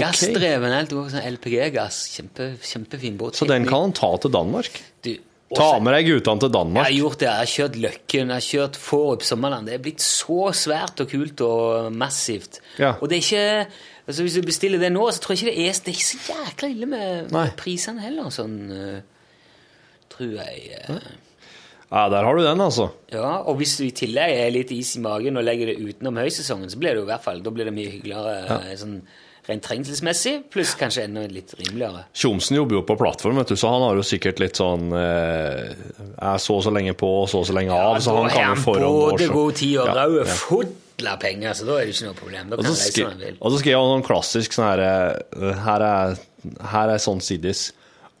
Speaker 2: Gassdreven, helt over sånn LPG-gass. Kjempe, kjempefin båt.
Speaker 3: så den kan han ta til Danmark.
Speaker 2: du,
Speaker 3: Ta
Speaker 2: også-
Speaker 3: med deg guttene til
Speaker 2: Jeg har
Speaker 3: Danmark.
Speaker 2: gjort det. Jeg har kjørt Løkken, jeg har kjørt Forup Sommerland. Det er blitt så svært og kult og massivt.
Speaker 3: Ja.
Speaker 2: Og det er ikke altså Hvis du bestiller det nå, så tror jeg ikke det er Det er ikke så jækla ille med
Speaker 3: Nei.
Speaker 2: med prisene heller, sånn eh, Tror jeg. eh.
Speaker 3: Ja, der har du den, altså.
Speaker 2: Ja, og hvis du i tillegg er litt is i magen og legger det utenom høysesongen, så blir det jo i hvert fall, da blir det mye hyggeligere eh, sånn rent trengselsmessig, pluss kanskje enda litt rimeligere.
Speaker 3: Tjomsen jobber jo på plattform, vet du, så han har jo sikkert litt sånn eh, Er så og så lenge på og så og så lenge av, så han
Speaker 2: da har
Speaker 3: kan jo forhånd og
Speaker 2: både
Speaker 3: så-
Speaker 2: god tid og
Speaker 3: Ja,
Speaker 2: røde
Speaker 3: ja.
Speaker 2: fodla penger, så da er sånn det ikke noe problem. Da
Speaker 3: Og så
Speaker 2: kan han reise
Speaker 3: skri-
Speaker 2: når han vil.
Speaker 3: og så skrev han noen klassisk sånn her eh, Her er, her er sånn sidis.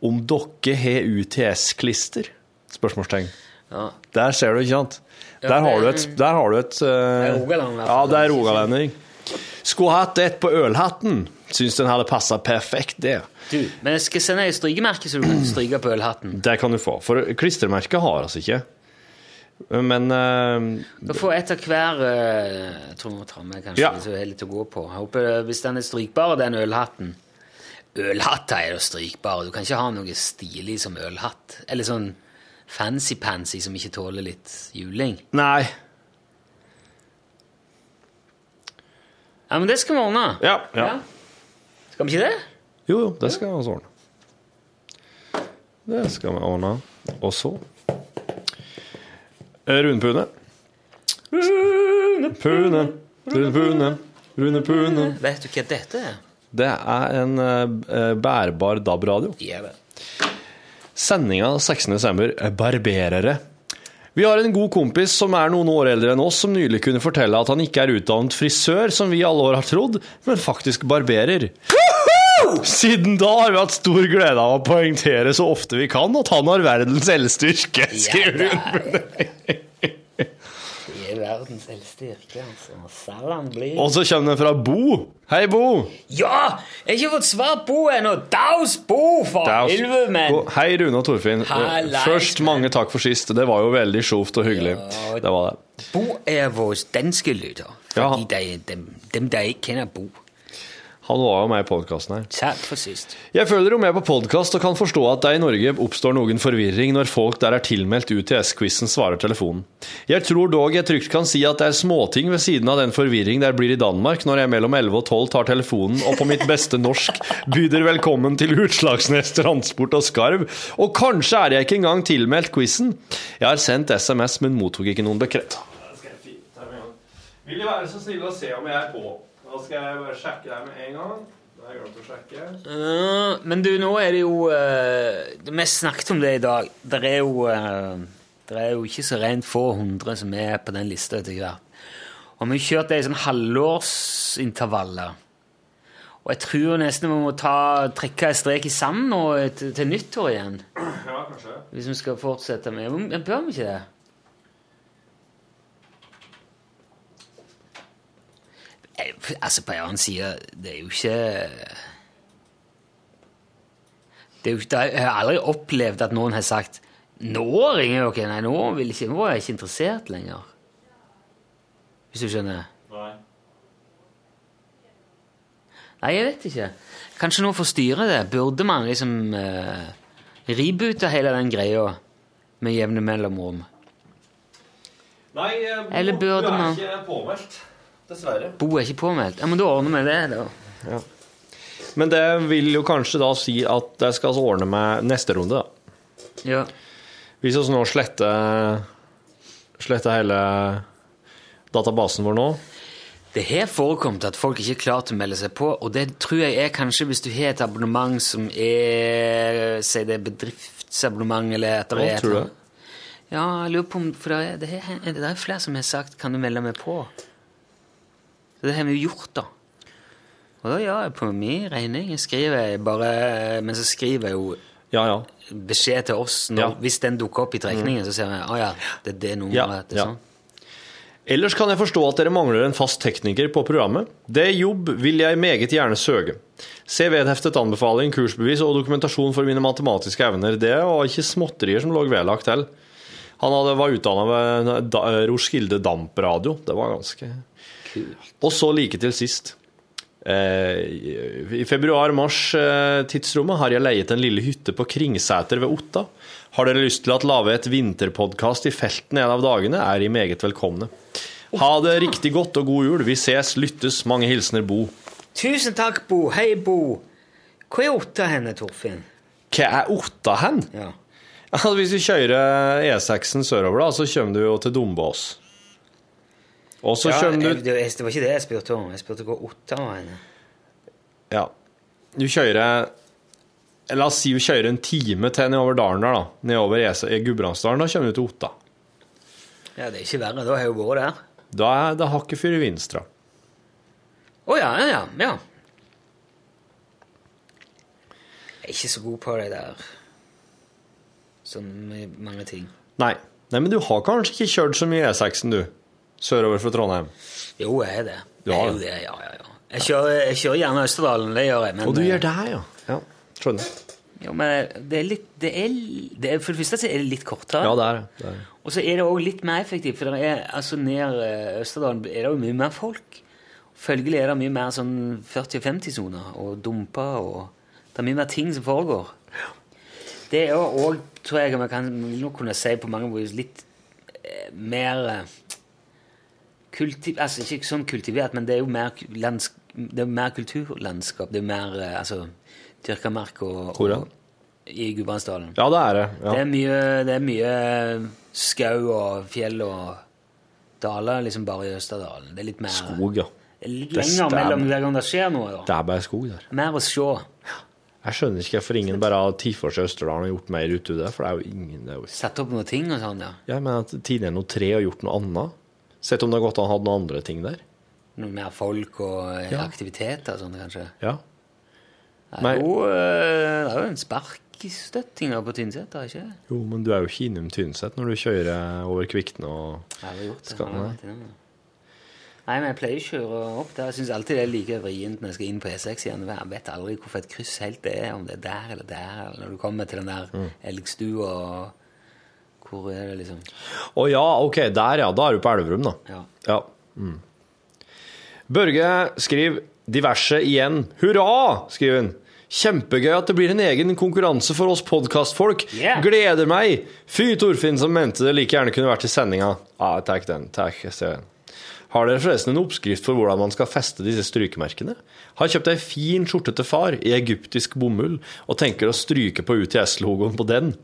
Speaker 3: Om dere har UTS-klister? Spørsmålstegn.
Speaker 2: Ja.
Speaker 3: Der ser du, ikke sant?
Speaker 2: Ja,
Speaker 3: Der har du
Speaker 2: det-
Speaker 3: et, der har du et eh,
Speaker 2: er Rogaland, i hvert
Speaker 3: Ja,
Speaker 2: fall.
Speaker 3: det er rogalending. Skulle hatt et på ølhatten. Syns den hadde passa perfekt, det.
Speaker 2: Du, men jeg skal sende deg et strykemerke, så du kan stryke på ølhatten.
Speaker 3: Det kan du få. For klistremerket har altså ikke. Men eh,
Speaker 2: Da får jeg et av hver eh, Jeg tror jeg må ta med kanskje
Speaker 3: Ja.
Speaker 2: så jeg har litt å gå på. Jeg håper eh, Hvis den er strykbar, den ølhatten Ølhatter er jo strykbare. Du kan ikke ha noe stilig som ølhatt. Eller sånn fancy-pansy som ikke tåler litt juling.
Speaker 3: Nei.
Speaker 2: Ja, men det skal vi ordne.
Speaker 3: Ja. ja.
Speaker 2: Skal vi ikke det?
Speaker 3: Jo, jo, det skal vi altså ordne. Det skal vi ordne. Og så Eh, Rune Pune. Rune Pune, Rune Pune, Rune Pune.
Speaker 2: Vet du hva dette er?
Speaker 3: Det er en eh, bærbar DAB-radio.
Speaker 2: Ja, det.
Speaker 3: Sendinga 16. desember er barberere. Vi har en god kompis som er noen år eldre enn oss, som nylig kunne fortelle at han ikke er utdannet frisør, som vi i alle år har trodd, men faktisk barberer. Siden da har vi hatt stor glede av å poengtere så ofte vi kan at han har verdens eldste yrke, skriver hun.
Speaker 2: Det er verdens eldste yrke, altså. Salan blir
Speaker 3: Og så kommer den fra Bo. Hei, Bo.
Speaker 2: Ja! Jeg har ikke fått svar på ennå! Daus bo, for
Speaker 3: Det er også-
Speaker 2: helvete, men!
Speaker 3: Go- Hei, Rune og Torfinn.
Speaker 2: Hallais,
Speaker 3: Først mange takk for sist. Det var jo veldig sjovt og hyggelig.
Speaker 2: Ja.
Speaker 3: Det var det.
Speaker 2: Bo er vår danske lytter.
Speaker 3: Ja.
Speaker 2: Fordi de, dem, dem der ikke kjenner Bo.
Speaker 3: Han var jo med i podkasten her.
Speaker 2: Takk for sist.
Speaker 3: Jeg følger jo med på podkast og kan forstå at det i Norge oppstår noen forvirring når folk der er tilmeldt UTS-quizen svarer telefonen. Jeg tror dog jeg trygt kan si at det er småting ved siden av den forvirring der blir i Danmark når jeg mellom 11 og 12 tar telefonen og på mitt beste norsk byder velkommen til Utslagsnes Transport og Skarv, og kanskje er jeg ikke engang tilmeldt quizen. Jeg har sendt SMS, men mottok ikke noen bekreft. Vil De være så snille å se om jeg er på? Da skal jeg bare sjekke deg med en gang. Da har jeg glemt å sjekke.
Speaker 2: Ja, Eh, men du, nå er det jo eh, Vi snakket om det i dag. Det er jo, eh, det er jo ikke så rent få hundre som er på den lista etter hvert. Og vi kjørte det i sånn halvårsintervaller. Og jeg tror nesten vi må ta, trekke en strek i sanden nå til, til nyttår igjen.
Speaker 3: Ja, kanskje.
Speaker 2: Hvis vi skal fortsette med Men Bør vi ikke det? Eh, Altså, på en annen side, det er jo ikke Det er jo ikke, det er- Jeg har aldri opplevd at noen har sagt 'Nå ringer dere!' Nei, nå, vil ikke, nå er jeg ikke interessert lenger. Hvis du skjønner?
Speaker 3: Nei.
Speaker 2: Nei, jeg vet ikke. Kanskje noe forstyrrer det. Burde man liksom eh, reboote hele den greia med jevne mellomrom?
Speaker 3: Nei, eh, Bo,
Speaker 2: Eller burde
Speaker 3: du er
Speaker 2: man-
Speaker 3: ikke påmeldt. Dessverre.
Speaker 2: Bo er ikke påmeldt. Ja, men da ordner vi det, da.
Speaker 3: Men det vil jo kanskje da si at jeg skal ordne meg neste runde, da.
Speaker 2: Ja.
Speaker 3: Hvis vi nå sletter Sletter hele databasen vår nå.
Speaker 2: Det har forekommet at folk ikke er klare til å melde seg på, og det tror jeg er kanskje hvis du har et abonnement som er Si det er bedriftsabonnement, eller at det
Speaker 3: Å,
Speaker 2: er et
Speaker 3: tror du
Speaker 2: eller annet. Ja, jeg lurer på om For det er, det er, det er flere som har sagt 'kan du melde meg på'? Så det har vi jo gjort, da. Og da gjør jeg på min regning. Jeg skriver bare Men så skriver jeg jo
Speaker 3: Ja, ja.
Speaker 2: beskjed til oss når,
Speaker 3: Ja. Mm.
Speaker 2: hvis den dukker opp i trekningen, så sier vi 'Å ja, det er det
Speaker 3: Ja,
Speaker 2: nummeret'. det er
Speaker 3: ja.
Speaker 2: sånn.
Speaker 3: Ellers kan jeg forstå at dere mangler en fast tekniker på programmet. Det er jobb vil jeg meget gjerne søke. Se vedheftet anbefaling, kursbevis og dokumentasjon for mine matematiske evner. Det var ikke småtterier som lå vedlagt til. Han hadde, var utdanna ved da, Roskilde Dampradio. Det var ganske Og så like til sist. Eh, I februar-mars-tidsrommet har jeg leiet en lille hytte på Kringsæter ved Otta. Har dere lyst til at lage et vinterpodkast i felten en av dagene, er I meget velkomne. Ha det riktig godt og god jul. Vi ses, lyttes. Mange hilsener Bo.
Speaker 2: Tusen takk, Bo. Hei, Bo. Hvor er Otta henne, Torfinn?
Speaker 3: Hva er Otta hen?
Speaker 2: Ja.
Speaker 3: Altså, hvis vi kjører E6-en sørover, da, så kommer du jo til Dombås. Og så
Speaker 2: Ja,
Speaker 3: kommer
Speaker 2: jeg,
Speaker 3: du
Speaker 2: det var- det var ikke det jeg spurte om. Jeg spurte hvor Otta var henne.
Speaker 3: Ja. Du kjører eh, La oss si du kjører en time til nedover dalen der, da. Nedover E6 i Gudbrandsdalen. Da kommer du til Otta.
Speaker 2: Ja, det er ikke verre. Da har jeg jo vært der.
Speaker 3: Da er det hakket fyr i Vinstra.
Speaker 2: Å ja, ja, ja, ja. Jeg er ikke så god på det der. Sånn med mange ting.
Speaker 3: Nei. Nei, men du har kanskje ikke kjørt så mye E6-en, du. Sørover fra Trondheim.
Speaker 2: Jo, jeg er det.
Speaker 3: Du
Speaker 2: jeg
Speaker 3: har
Speaker 2: er jo
Speaker 3: det.
Speaker 2: det. Ja, ja, ja. Jeg kjører, jeg kjører gjerne Østerdalen, det gjør jeg. Men, eh,
Speaker 3: Og du gjør det her, ja. ja. Skjønner.
Speaker 2: Jo, men det er litt det er, det er, For det første så er det litt kortere.
Speaker 3: Ja, det er det. det. er det.
Speaker 2: Og så er det òg litt mer effektivt, for det er, altså ned eh, Østerdalen er det jo mye mer folk. Følgelig er det mye mer sånn 40- og 50-soner og dumper og Det er mye mer ting som foregår. Det er jo òg, tror jeg man kan vil nok kunne si på mange vis, litt eh, mer eh, kulti, Altså ikke sånn kultivert, men det er jo mer, ku- lands, det er jo mer kulturlandskap. Det er jo mer eh, altså, dyrka mark og,
Speaker 3: Hvor da?
Speaker 2: og I Gudbrandsdalen.
Speaker 3: Ja, det er det.
Speaker 2: Det
Speaker 3: Ja.
Speaker 2: er mye, det er mye skau og fjell og daler liksom bare i Østerdalen. Det er litt mer
Speaker 3: Skog, ja.
Speaker 2: Det er litt
Speaker 3: Det
Speaker 2: lenger mellom
Speaker 3: stemmer.
Speaker 2: hver gang det skjer noe. da.
Speaker 3: Det er bare skog der.
Speaker 2: Mer å se.
Speaker 3: Jeg skjønner ikke hvorfor ingen bare av Tifors og Østerdalen har gjort mer ut av det, for det er jo ingen det er jo...
Speaker 2: Satt opp noen ting og sånn, ja.
Speaker 3: Jeg mener at tidligere noe tre har gjort noe annet. Sett om det har gått an å ha noen andre ting der.
Speaker 2: Noe mer folk og eh, aktiviteter og sånn, kanskje.
Speaker 3: Ja.
Speaker 2: Det
Speaker 3: Nei.
Speaker 2: er, jo, eh, det er jo en sparkstøtting da på Tynset, er det ikke? det?
Speaker 3: Jo, men du er jo ikke innom Tynset når du kjører over Kvikne og
Speaker 2: Jeg har gjort det.
Speaker 3: Skal-
Speaker 2: jeg har vært innom det. Nei, men jeg pleier å kjøre opp der. Jeg syns alltid det er like vrient når jeg skal inn på E6 igjen. Jeg vet aldri hvorfor et kryss helt det er, om det er der eller der, eller når du kommer til den der
Speaker 3: Mm.
Speaker 2: elgstua og Hvor er det, liksom?
Speaker 3: Å ja, ok, der ja. Da er du på Elverum, da.
Speaker 2: Ja.
Speaker 3: Ja. Mm. Børge skriver diverse igjen. Hurra! skriver han. Kjempegøy at det blir en egen konkurranse for oss podkastfolk.
Speaker 2: Yeah.
Speaker 3: Gleder meg! Fy Torfinn som mente det like gjerne kunne vært i sendinga. Ja, takk den. Takk, jeg ser den. Har dere forresten en oppskrift for hvordan man skal feste disse strykemerkene? Har kjøpt ei fin skjorte til far i egyptisk bomull og tenker å stryke på UTS-logoen på den.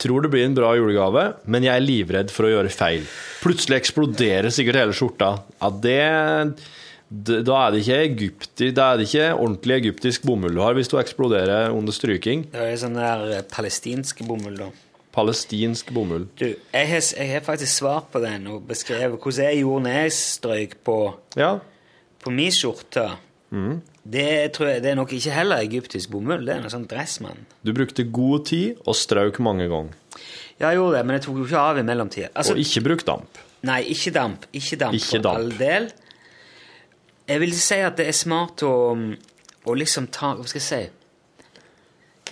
Speaker 3: Tror det blir en bra julegave, men jeg er livredd for å gjøre feil. Plutselig eksploderer sikkert hele skjorta. Ja, det d- Da er det ikke egypti, da er det ikke ordentlig egyptisk bomull du har hvis du eksploderer under stryking.
Speaker 2: Det er jo sånn der eh, palestinsk bomull, da.
Speaker 3: Palestinsk bomull.
Speaker 2: Du, jeg har, jeg har faktisk svart på den og beskrevet hvordan jeg gjorde når jeg strøyk på,
Speaker 3: Ja.
Speaker 2: på min skjorte.
Speaker 3: Mm.
Speaker 2: Det, tror jeg, det er nok ikke heller egyptisk bomull, det er noe sånn dressmann.
Speaker 3: Du brukte god tid og strauk mange ganger.
Speaker 2: Ja, jeg gjorde det, men jeg tok jo ikke av i mellomtida. Altså,
Speaker 3: Og ikke bruk damp.
Speaker 2: nei, ikke damp. Ikke damp
Speaker 3: Ikke
Speaker 2: for
Speaker 3: damp.
Speaker 2: all del. Jeg vil si at det er smart å, å liksom ta Hva skal jeg si?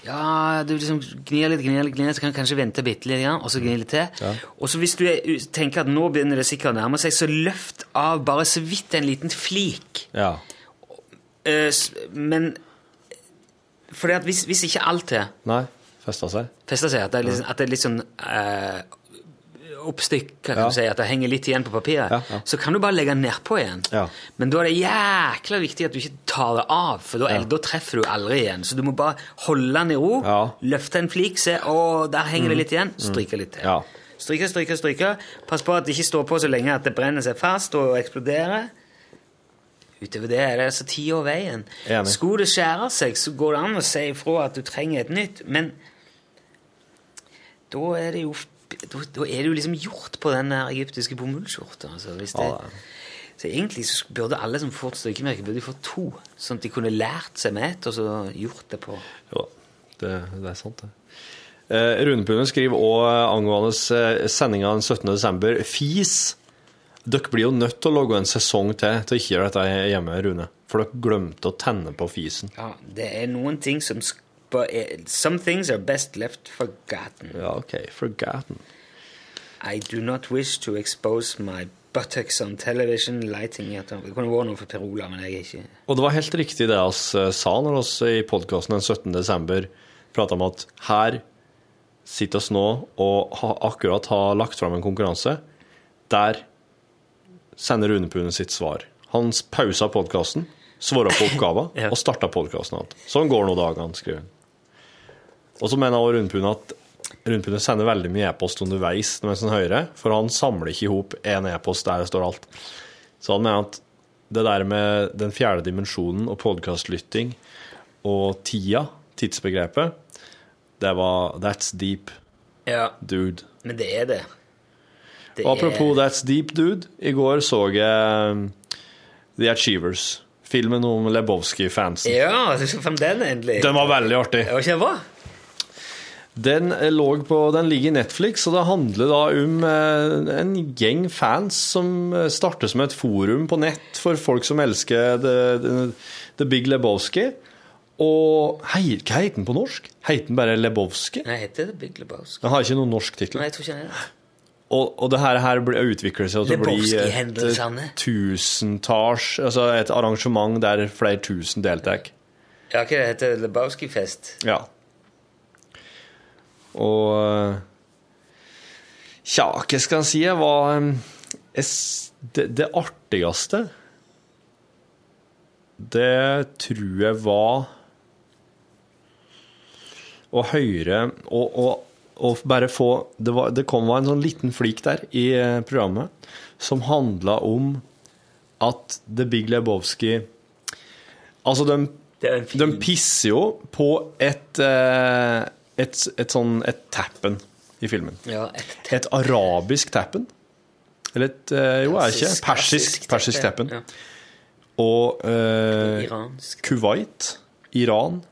Speaker 2: Ja, du liksom gnir litt, gnir litt, gnir litt, så kan du kanskje vente bitte litt, og så gnir litt til. Og så hvis du er, u- tenker at nå begynner det sikkert å nærme seg, så løft av bare så vidt en liten flik.
Speaker 3: Ja.
Speaker 2: Eh, s- men For at hvis, hvis ikke alt er
Speaker 3: Nei, festa seg.
Speaker 2: festa seg, at det er litt, at det er litt sånn eh, oppstykk, kan
Speaker 3: Ja.
Speaker 2: du si, at det henger litt igjen på papiret,
Speaker 3: Ja, ja.
Speaker 2: så kan du bare legge den nedpå igjen.
Speaker 3: Ja.
Speaker 2: Men da er det jækla viktig at du ikke tar det av, for da, da treffer du aldri igjen. Så du må bare holde den i ro,
Speaker 3: Ja. Mm.
Speaker 2: løfte en flik, se å, der henger det litt igjen, stryke litt til.
Speaker 3: Ja.
Speaker 2: Stryke, stryke, stryke. Pass på at det ikke står på så lenge at det brenner seg fast og eksploderer. Utover det er det altså ti år veien.
Speaker 3: Enig.
Speaker 2: Skulle det skjære seg, så går det an å si ifra at du trenger et nytt, men da er det jo da, da er det jo liksom gjort på den der egyptiske bomullsskjorta. Altså, hvis det,
Speaker 3: Ja, det
Speaker 2: så egentlig så burde alle som får et strykemerke, burde få to. Sånn at de kunne lært seg med ett, og så gjort det på
Speaker 3: Jo da, det, det er sant, det. Eh, Rune Pune skriver òg angående eh, sendinga den 17. desember. Fis! Dere blir jo nødt til å logge en sesong til til å ikke gjøre dette hjemme, Rune. For dere glemte å tenne på fisen.
Speaker 2: Ja, det er noen ting som sk- bare er- Some things are best left forgotten.
Speaker 3: Ja, OK. Forgotten.
Speaker 2: I do not wish to expose my buttocks on television lighting at Det kunne vært noe for Per Olav, men jeg er ikke
Speaker 3: Og det var helt riktig det vi eh, sa når oss i podkasten den 17. desember prata om at her sitter oss nå og ha, akkurat har lagt fram en konkurranse. Der sender Rune Pune sitt svar. Han pausa podkasten, svara på oppgava
Speaker 2: Ja.
Speaker 3: og starta podkasten igjen. Sånn går nå dagene, skriver han. Og så mener også Rune Pune at Rune Pune sender veldig mye e-post underveis mens han hører, for han samler ikke i hop én e-post der det står alt. Så han mener at det der med den fjerde dimensjonen og podkastlytting og tida, tidsbegrepet, det var That's deep,
Speaker 2: Ja,
Speaker 3: dude.
Speaker 2: men det er det. det
Speaker 3: Og apropos
Speaker 2: er,
Speaker 3: That's deep, dude. I går så jeg um, The Achievers, filmen om Lebowski-fansen.
Speaker 2: Ja, du fant den endelig.
Speaker 3: Den var veldig artig.
Speaker 2: Det var ikke bra?
Speaker 3: Den, eh, lå på, den ligger i Netflix, og det handler da om eh, en gjeng fans som eh, starter som et forum på nett for folk som elsker The, the, the Big Lebowski. Og hei, hva heter den på norsk? Heter den bare Lebowski?
Speaker 2: Nei, heter det Big Lebowski?
Speaker 3: Den har ikke noen norsk tittel.
Speaker 2: Nei, jeg tror ikke det. er det.
Speaker 3: Og, og det her, her ble- utvikler seg til å bli et
Speaker 2: Lebowski-hendelsene.
Speaker 3: tusentalls Altså et arrangement der flere tusen deltar.
Speaker 2: Ja, hva det heter det? Lebowski-fest?
Speaker 3: Ja. Og eh, Tja, hva skal en si? Jeg var em, jeg, s- det, det artigste Det tror jeg var å høre og, og, og bare få det, var, det kom en sånn liten flik der i eh, programmet som handla om at The Big Lebowski Altså, de
Speaker 2: Det er en fin
Speaker 3: De pisser jo på et, eh, et, et sånn et tappen i filmen.
Speaker 2: ja, et
Speaker 3: Et arabisk tappen. Eller et eh, Jo, er det ikke? Persisk, persisk tappen.
Speaker 2: Ja.
Speaker 3: Og eh,
Speaker 2: Iransk.
Speaker 3: Kuwait, Iran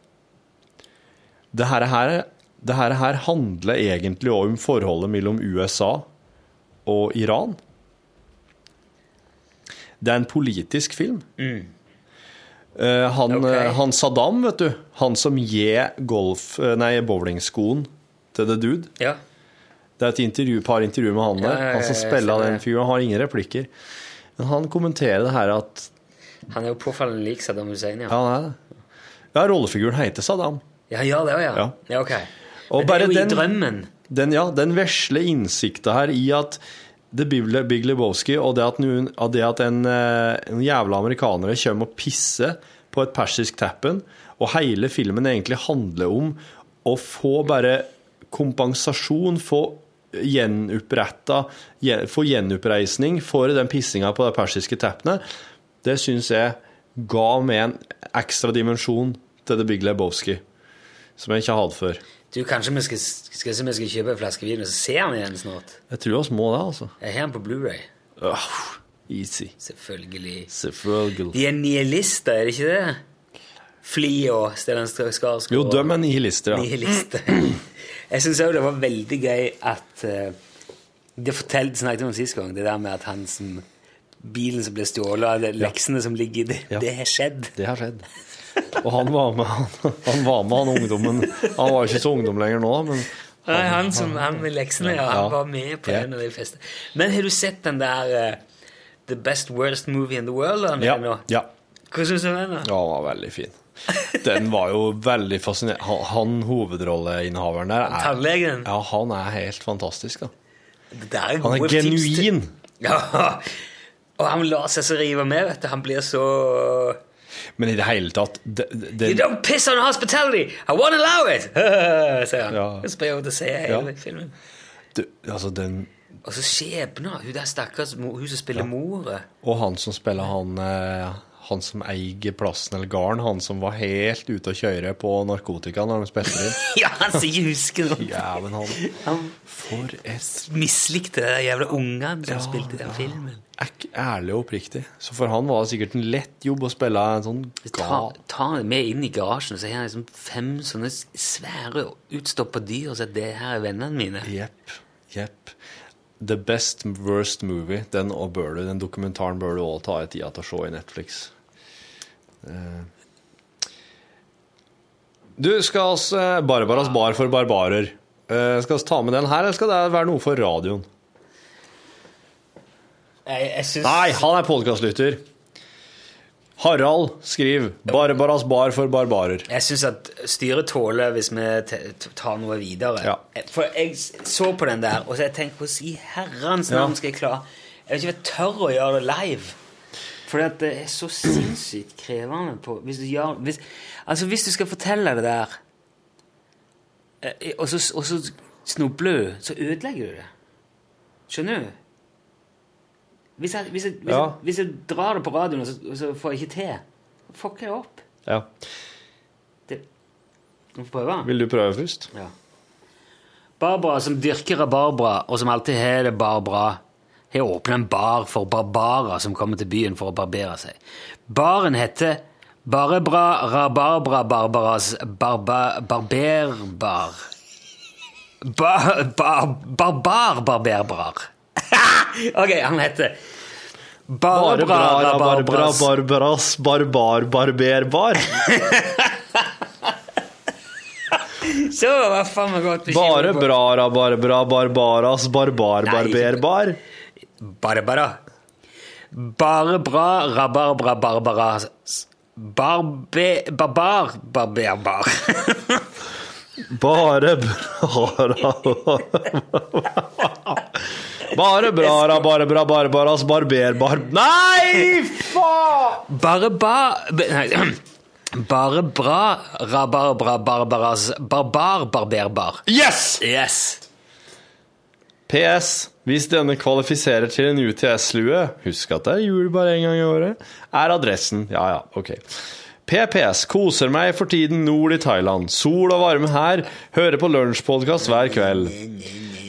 Speaker 3: Det her, her, det her, her handler egentlig om forholdet mellom USA og Iran. Det er en politisk film. Eh, han,
Speaker 2: Mm. Ok.
Speaker 3: eh, han Saddam, vet du, han som gir golf, eh, nei, bowlingskoen til The Dude
Speaker 2: Ja.
Speaker 3: det er et intervju, par intervju med han der.
Speaker 2: Ja, ja, ja,
Speaker 3: han som
Speaker 2: jeg
Speaker 3: spiller
Speaker 2: ser
Speaker 3: den
Speaker 2: det.
Speaker 3: figuren, har ingen replikker. Men han kommenterer det her at
Speaker 2: Han er jo påfallende lik Saddam Hussein, ja.
Speaker 3: Ja, han er det. Ja, rollefiguren heter Saddam.
Speaker 2: Ja, gjør det òg, ja.
Speaker 3: Ja.
Speaker 2: ja. Ok.
Speaker 3: Og
Speaker 2: Men det
Speaker 3: bare
Speaker 2: er jo
Speaker 3: den-
Speaker 2: i drømmen.
Speaker 3: Den, ja, den vesle innsikta her i at The Big Le- Big Lebowski og det at, noen, av det at en, eh, en jævla amerikanere kommer og pisser på et persisk tappen, og hele filmen egentlig handler om å få bare kompensasjon, få gjenoppretta, gje- få gjenoppreisning for den pissinga på de persiske tappene, det syns jeg ga meg en ekstra dimensjon til The Big Lebowski, som jeg ikke har hatt før.
Speaker 2: Du, Kanskje vi skal, skal, se om vi skal kjøpe en flaske vin, og så ser vi den snart.
Speaker 3: Jeg tror vi må det, altså.
Speaker 2: Jeg har den på Blu-ray.
Speaker 3: Åh, easy.
Speaker 2: Selvfølgelig.
Speaker 3: Selvfølgelig.
Speaker 2: De er nihilister, er det ikke det? Fli og Stellan Skarsgård.
Speaker 3: Jo, de er nihilister, ja.
Speaker 2: nihilister. Jeg syns òg det var veldig gøy at eh, Det fortell, snakket vi om sist gang, det der med at han som Bilen som ble stjålet, og det- leksene som ligger i det,
Speaker 3: Ja.
Speaker 2: det har skjedd.
Speaker 3: Det har skjedd. Og han var med, han, han var med, han ungdommen. Han var ikke så ungdom lenger nå, men
Speaker 2: Nei, han, som, han med leksene, ja.
Speaker 3: Ja.
Speaker 2: Han var med på
Speaker 3: Ja.
Speaker 2: en av de festene. Men har du sett den der eh, The Best Worst Movie in the World? Han
Speaker 3: ja,
Speaker 2: er nå?
Speaker 3: ja.
Speaker 2: Hva syns du om den? da?
Speaker 3: Ja, han var veldig fin. Den var jo veldig fascinerende. Han, han hovedrolleinnehaveren der er
Speaker 2: Tannlegen?
Speaker 3: Ja, han er helt fantastisk, da.
Speaker 2: Det er
Speaker 3: Han
Speaker 2: gode
Speaker 3: er
Speaker 2: tips til-
Speaker 3: genuin.
Speaker 2: Ja, og han lar seg så rive med, vet du. Han blir så
Speaker 3: Men i det hele tatt det, det, det,
Speaker 2: You don't piss on hospitality! I won't allow it! sier han.
Speaker 3: Ja.
Speaker 2: Og så prøver hun å se hele
Speaker 3: Ja.
Speaker 2: filmen.
Speaker 3: Altså, den
Speaker 2: Og så skjebna! Hun der stakkars mo- hun som spiller more.
Speaker 3: Og han som spiller han eh, Han som eier plassen eller gården, han som var helt ute å kjøre på narkotika når de spilte inn.
Speaker 2: Ja, han som ikke husker noe!
Speaker 3: Jæven, han For et
Speaker 2: Mislikte de jævla ungene som spilte den filmen.
Speaker 3: ek, ærlig og oppriktig. Så for han var det sikkert en lett jobb å spille en sånn
Speaker 2: Ta,
Speaker 3: gal
Speaker 2: ta det med inn i garasjen, så har jeg liksom fem sånne s- svære utstoppa dyr. Og så at det her er vennene mine.
Speaker 3: Jepp. Jepp. The best worst movie. Den, og bør du, den dokumentaren bør du òg ta deg tida til å se i Netflix. Eh. Du, skal oss eh, Barbaras bar for barbarer. Eh, Skal oss ta med den her, eller skal det være noe for radioen?
Speaker 2: Jeg, jeg syns
Speaker 3: Nei, han er podkastlytter. Harald skriver 'Barbaras bar for barbarer'.
Speaker 2: Jeg syns at styret tåler hvis vi te- t- tar noe videre.
Speaker 3: Ja.
Speaker 2: For jeg s- så på den der, og så jeg tenkte hvordan i herrens navn
Speaker 3: Ja.
Speaker 2: skal jeg klare Jeg vet ikke om jeg tør å gjøre det live. Fordi at det er så sinnssykt krevende på Hvis du gjør hvis, Altså, hvis du skal fortelle det der, eh, og så, og så snubler du, så ødelegger du det. Skjønner du? Hvis jeg, hvis jeg, hvis
Speaker 3: Ja.
Speaker 2: jeg, hvis jeg drar det på radioen, og så, og så får jeg ikke til, fucker jeg opp.
Speaker 3: Ja.
Speaker 2: Skal vi prøve?
Speaker 3: Vil du prøve først?
Speaker 2: Ja. Barbara som dyrker rabarbra, og som alltid har det bare bra, har åpnet en bar for barbarer som kommer til byen for å barbere seg. Baren heter Barebra Rabarbra Barbaras barba, Barberbar. Ba, ba, barbar Barberbrar. ok, han heter
Speaker 3: Bare
Speaker 2: Barebra
Speaker 3: bra, rabarbra,
Speaker 2: Rabarbras
Speaker 3: barbaras, barbar, barberbar.
Speaker 2: Så, hva faen var godt vi
Speaker 3: Bare
Speaker 2: skiller på.
Speaker 3: bra, rabarbra, barbaras, barbar,
Speaker 2: Nei, ikke-
Speaker 3: barberbar.
Speaker 2: Barbara. Bare bra, rabarbra, barbara. Barbe... Barbar, barberbar.
Speaker 3: Bare bra ra- Bare bra, rabarbra, barbaras, barberbar Nei, faen!
Speaker 2: Bare ba... be- Nei. Bare bra, rabarbra, barbaras, barbar, barberbar.
Speaker 3: Yes!
Speaker 2: Yes!
Speaker 3: PS. Hvis denne kvalifiserer til en UTS-lue Husk at det er jul bare en gang i året. Er adressen Ja, ja, ok. PPS koser meg for tiden nord i Thailand. Sol og varme her. Hører på lunsjpodkast hver kveld.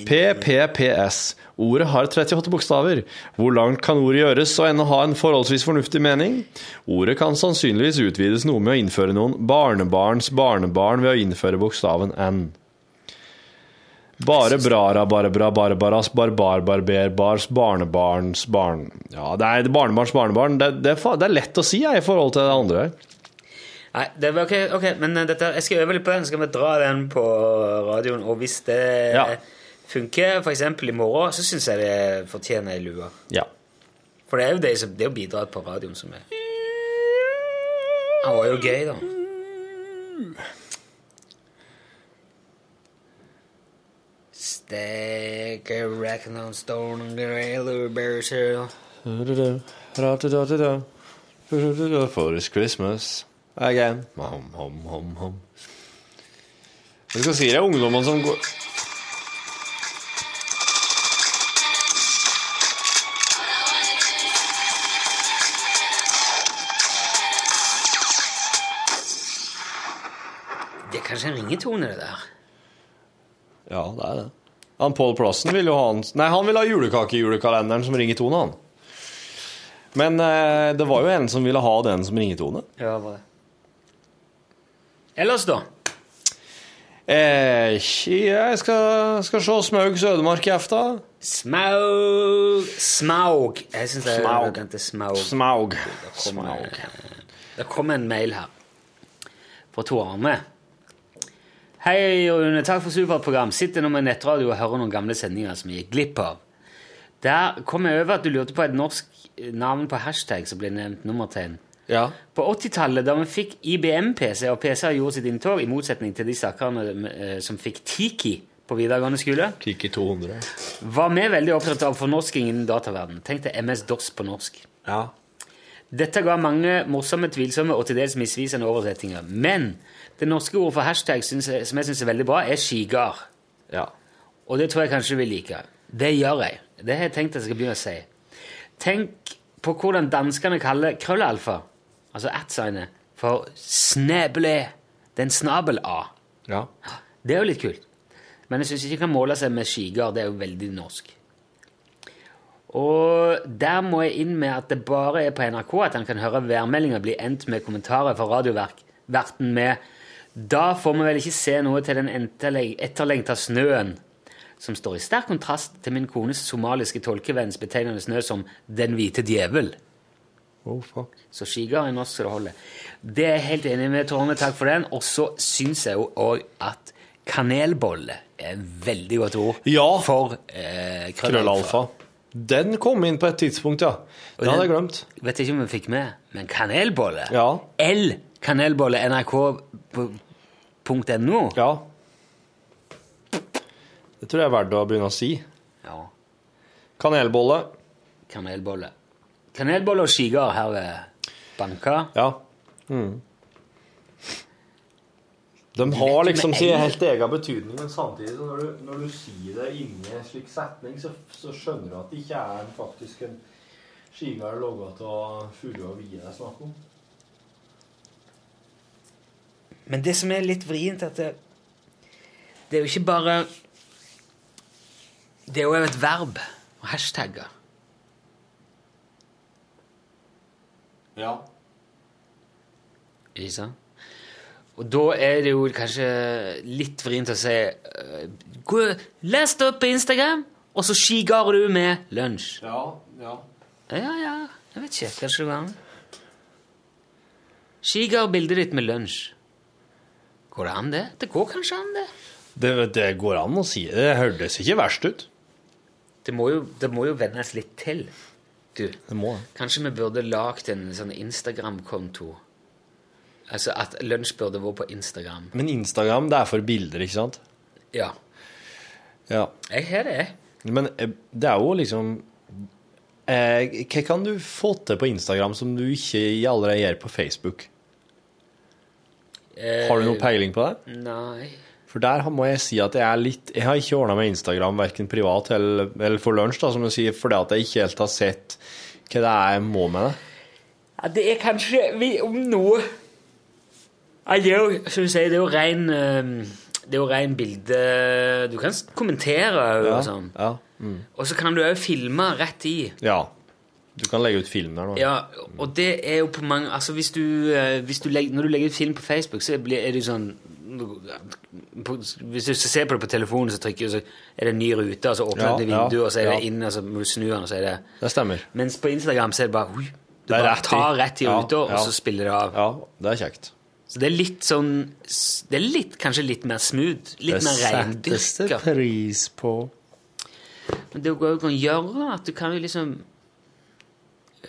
Speaker 3: PPPS. Ordet har 38 bokstaver. Hvor langt kan ordet gjøres og ennå ha en forholdsvis fornuftig mening? Ordet kan sannsynligvis utvides noe med å innføre noen barnebarns barnebarn ved å innføre bokstaven N. Bare brara, bare bra, bare baras, barbar, barberbars, barnebarns barn... Ja, det er barnebarns barnebarn. Det, det, er fa- det er lett å si jeg, i forhold til det andre.
Speaker 2: Nei, det var ok, ok, men eh, dette, jeg skal øve litt på den, så skal vi dra den på radioen, og hvis det
Speaker 3: Ja.
Speaker 2: funker, for eksempel i morgen, så synes jeg det fortjener en lue.
Speaker 3: Ja.
Speaker 2: For det er jo det, som, det er jo bidrag på radioen som er. Han var jo gøy, da. Stake a reckon on stone and the railroad bears here.
Speaker 3: For it's Christmas again. Hom, hom, hom, hom. Jeg skal si det er ungdommene som går
Speaker 2: Det er kanskje en ringetone, det der.
Speaker 3: Ja, det er det. Han Paul Plassen vil jo ha hans Nei, han vil ha julekake i julekalenderen som ringetone, han. Men eh, det var jo en som ville ha den som ringetone.
Speaker 2: Ja, var det. Ellers, da?
Speaker 3: Eh, jeg skal, skal se Smaug Sødemark i efta.
Speaker 2: Smaug Smaug. Jeg syns det er
Speaker 3: Smaug.
Speaker 2: elegant. det er Smaug.
Speaker 3: Smaug.
Speaker 2: kommer-
Speaker 3: Smaug.
Speaker 2: Det kom en mail her fra Tor Arne. Hei, Rune. Takk for supert program. Sitter nå med nettradio og hører noen gamle sendinger som jeg gikk glipp av. Der kom jeg over at du lurte på et norsk eh, navn på hashtag som ble nevnt nummertegn.
Speaker 3: Ja.
Speaker 2: På 80-tallet, da vi fikk IBM-PC, og PC-er gjorde sitt inntog, i motsetning til de stakkarene eh, som fikk Tiki på videregående skole,
Speaker 3: Kikki 200.
Speaker 2: var vi veldig opptatt av fornorsking innen dataverden. Tenk deg MS-DOS på norsk.
Speaker 3: Ja.
Speaker 2: Dette ga mange morsomme, tvilsomme og til dels misvisende oversettinger. Men det norske ordet for hashtag syns jeg, som jeg syns er veldig bra, er skigard.
Speaker 3: ja.
Speaker 2: Og det tror jeg kanskje vi liker. Det gjør jeg. Det har jeg tenkt jeg skal begynne å si. Tenk på hvordan danskene kaller krøllalfa, altså at-signet, for sneble. Det er en snabel-a.
Speaker 3: Ja.
Speaker 2: Det er jo litt kult. Men jeg syns ikke det kan måle seg med skigard. Det er jo veldig norsk. Og der må jeg inn med at det bare er på NRK at han kan høre værmeldinga bli endt med kommentarer fra radioverten med Da får vi vel ikke se noe til den etterleg- etterlengta snøen, som står i sterk kontrast til min kones somaliske tolkevenns betegnende snø som Den hvite djevel.
Speaker 3: Oh, fuck.
Speaker 2: Så skigard er norsk så det holder. Det er jeg helt enig med Torne, takk for den. Og så syns jeg jo òg at kanelbolle er et veldig godt ord
Speaker 3: Ja.
Speaker 2: for eh, krøllalfa.
Speaker 3: Krøllalfa. Den kom inn på et tidspunkt, ja. Det hadde jeg glemt.
Speaker 2: Vet ikke om vi fikk med, men kanelbolle
Speaker 3: Ja.
Speaker 2: L kanelbolle nrk.no.
Speaker 3: Ja. Det tror jeg er verdt å begynne å si.
Speaker 2: Ja,
Speaker 3: Kanelbolle.
Speaker 2: kanelbolle. Kanelbolle og skigard herved banka.
Speaker 3: Ja. Mm. De har liksom sin helt egen betydning, men samtidig så når du, når du sier det inni en slik setning, så, så skjønner du at det ikke er en faktisk en skigard logga av Furu og Vie det er snakk om.
Speaker 2: Men det som er litt vrient, er at det, det er jo ikke bare Det er jo et verb å hashtagge.
Speaker 3: Ja.
Speaker 2: Ikke sant? Og da er det jo kanskje litt vrient å si eh, gå- Les det opp på Instagram, og så skigar du med lunsj.
Speaker 3: Ja. ja.
Speaker 2: Ja, ja, jeg vet ikke. Kanskje det går an? Skigar bildet ditt med lunsj. Går det an, det? Det går kanskje an, det.
Speaker 3: Det, det går an å si. Det hørtes ikke verst ut.
Speaker 2: Det må jo, det må jo vennes litt til, du.
Speaker 3: Det må det.
Speaker 2: Kanskje vi burde lagt en sånn Instagram-konto. Altså at lunsj burde være på Instagram.
Speaker 3: Men Instagram, det er for bilder, ikke sant?
Speaker 2: Ja.
Speaker 3: Ja.
Speaker 2: Jeg har det.
Speaker 3: Men eh, det er jo liksom eh, Hva kan du få til på Instagram som du ikke allerede gjør på Facebook?
Speaker 2: Eh,
Speaker 3: Har du noe peiling på det?
Speaker 2: Nei.
Speaker 3: For der har- må jeg si at jeg er litt Jeg har ikke ordna med Instagram verken privat eller, eller for lunsj, da, som du sier, fordi at jeg ikke helt har sett hva det er jeg må med det.
Speaker 2: Ja, det er kanskje vi, om noe Nei, det er jo, som du sier, det er jo ren eh, Det er jo ren bilde Du kan s- kommentere og sånn.
Speaker 3: ja. Mm,
Speaker 2: Og så kan du òg filme rett i.
Speaker 3: ja. Du kan legge ut film der nå.
Speaker 2: Ja, og det er jo på mange Altså, hvis du, eh, hvis du legger, Når du legger ut film på Facebook, så blir, er det jo sånn på, Hvis du ser på det på telefonen, så trykker du, så er det en ny rute, og så åpner
Speaker 3: Ja,
Speaker 2: det
Speaker 3: ja,
Speaker 2: vinduet, og så er det
Speaker 3: ja.
Speaker 2: inn, og så må du snu den, og så er det
Speaker 3: Det stemmer.
Speaker 2: Mens på Instagram så er det bare ui, Du
Speaker 3: Det er
Speaker 2: bare
Speaker 3: rett i.
Speaker 2: tar rett i
Speaker 3: Ja,
Speaker 2: ruta,
Speaker 3: ja.
Speaker 2: og så spiller det av.
Speaker 3: Ja, det er kjekt.
Speaker 2: Så det er litt sånn s- Det er litt, kanskje litt mer smooth. Litt mer reindyrka.
Speaker 3: pris på.
Speaker 2: Men det går jo an å gjøre at du kan jo liksom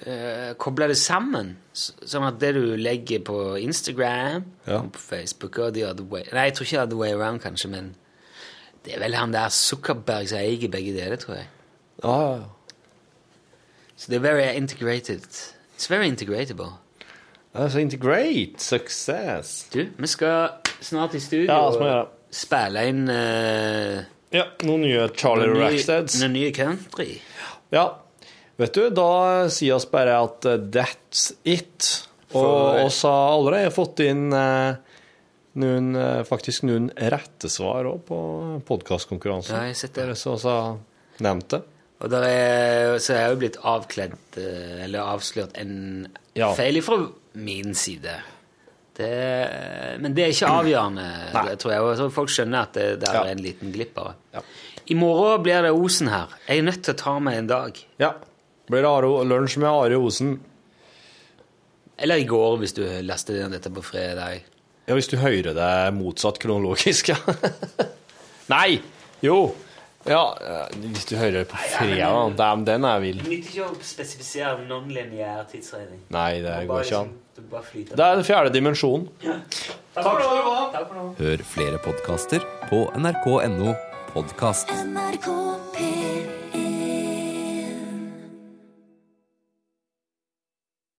Speaker 2: eh, koble det sammen. S- Sånn at det du legger på Instagram
Speaker 3: Ja.
Speaker 2: og på Facebook og the other way Nei, jeg tror ikke the other way around, kanskje, men det er vel han der Zuckerberg som eier begge deler, tror jeg.
Speaker 3: Ja, ja, ja.
Speaker 2: Så det er very integrated. It's very integratable.
Speaker 3: Det er så integrate. Success.
Speaker 2: Du, vi skal snart i studio
Speaker 3: Ja, det skal vi gjøre.
Speaker 2: og spille inn eh,
Speaker 3: Ja, noen nye Charlie
Speaker 2: noen ny-
Speaker 3: Racksteads.
Speaker 2: noen nye country.
Speaker 3: Ja. Vet du, da sier oss bare at eh, that's it. Og oss har allerede fått inn eh, noen, eh, faktisk noen rette svar også på
Speaker 2: Ja,
Speaker 3: podkastkonkurransen.
Speaker 2: jeg har sett det.
Speaker 3: Dere som også har nevnt det.
Speaker 2: Og der er, så er jeg jo blitt avkledd, eh, eller avslørt, en
Speaker 3: Ja.
Speaker 2: feil fra min side. Det, men det er ikke avgjørende, det tror jeg. Og jeg tror folk skjønner at det der
Speaker 3: Ja.
Speaker 2: er en liten glipp bare.
Speaker 3: Ja.
Speaker 2: I morgen blir det Osen her. Jeg er nødt til å ta meg en dag.
Speaker 3: Ja. Blir det Aro, lunsj med Are Osen?
Speaker 2: Eller i går, hvis du laster ned dette på fredag.
Speaker 3: Ja, hvis du hører det motsatt kronologisk, ja. Nei! Jo. Ja, eh, hvis du hører det på fredag, den, den er vill.
Speaker 2: Nytter ikke å spesifisere non-lineær tidsregning.
Speaker 3: Nei, det går ikke an.
Speaker 2: Bare flyter.
Speaker 3: Det er den fjerde dimensjonen.
Speaker 2: Takk skal du ha!
Speaker 10: Hør flere podkaster på nrk.no podkast.
Speaker 11: NRK P1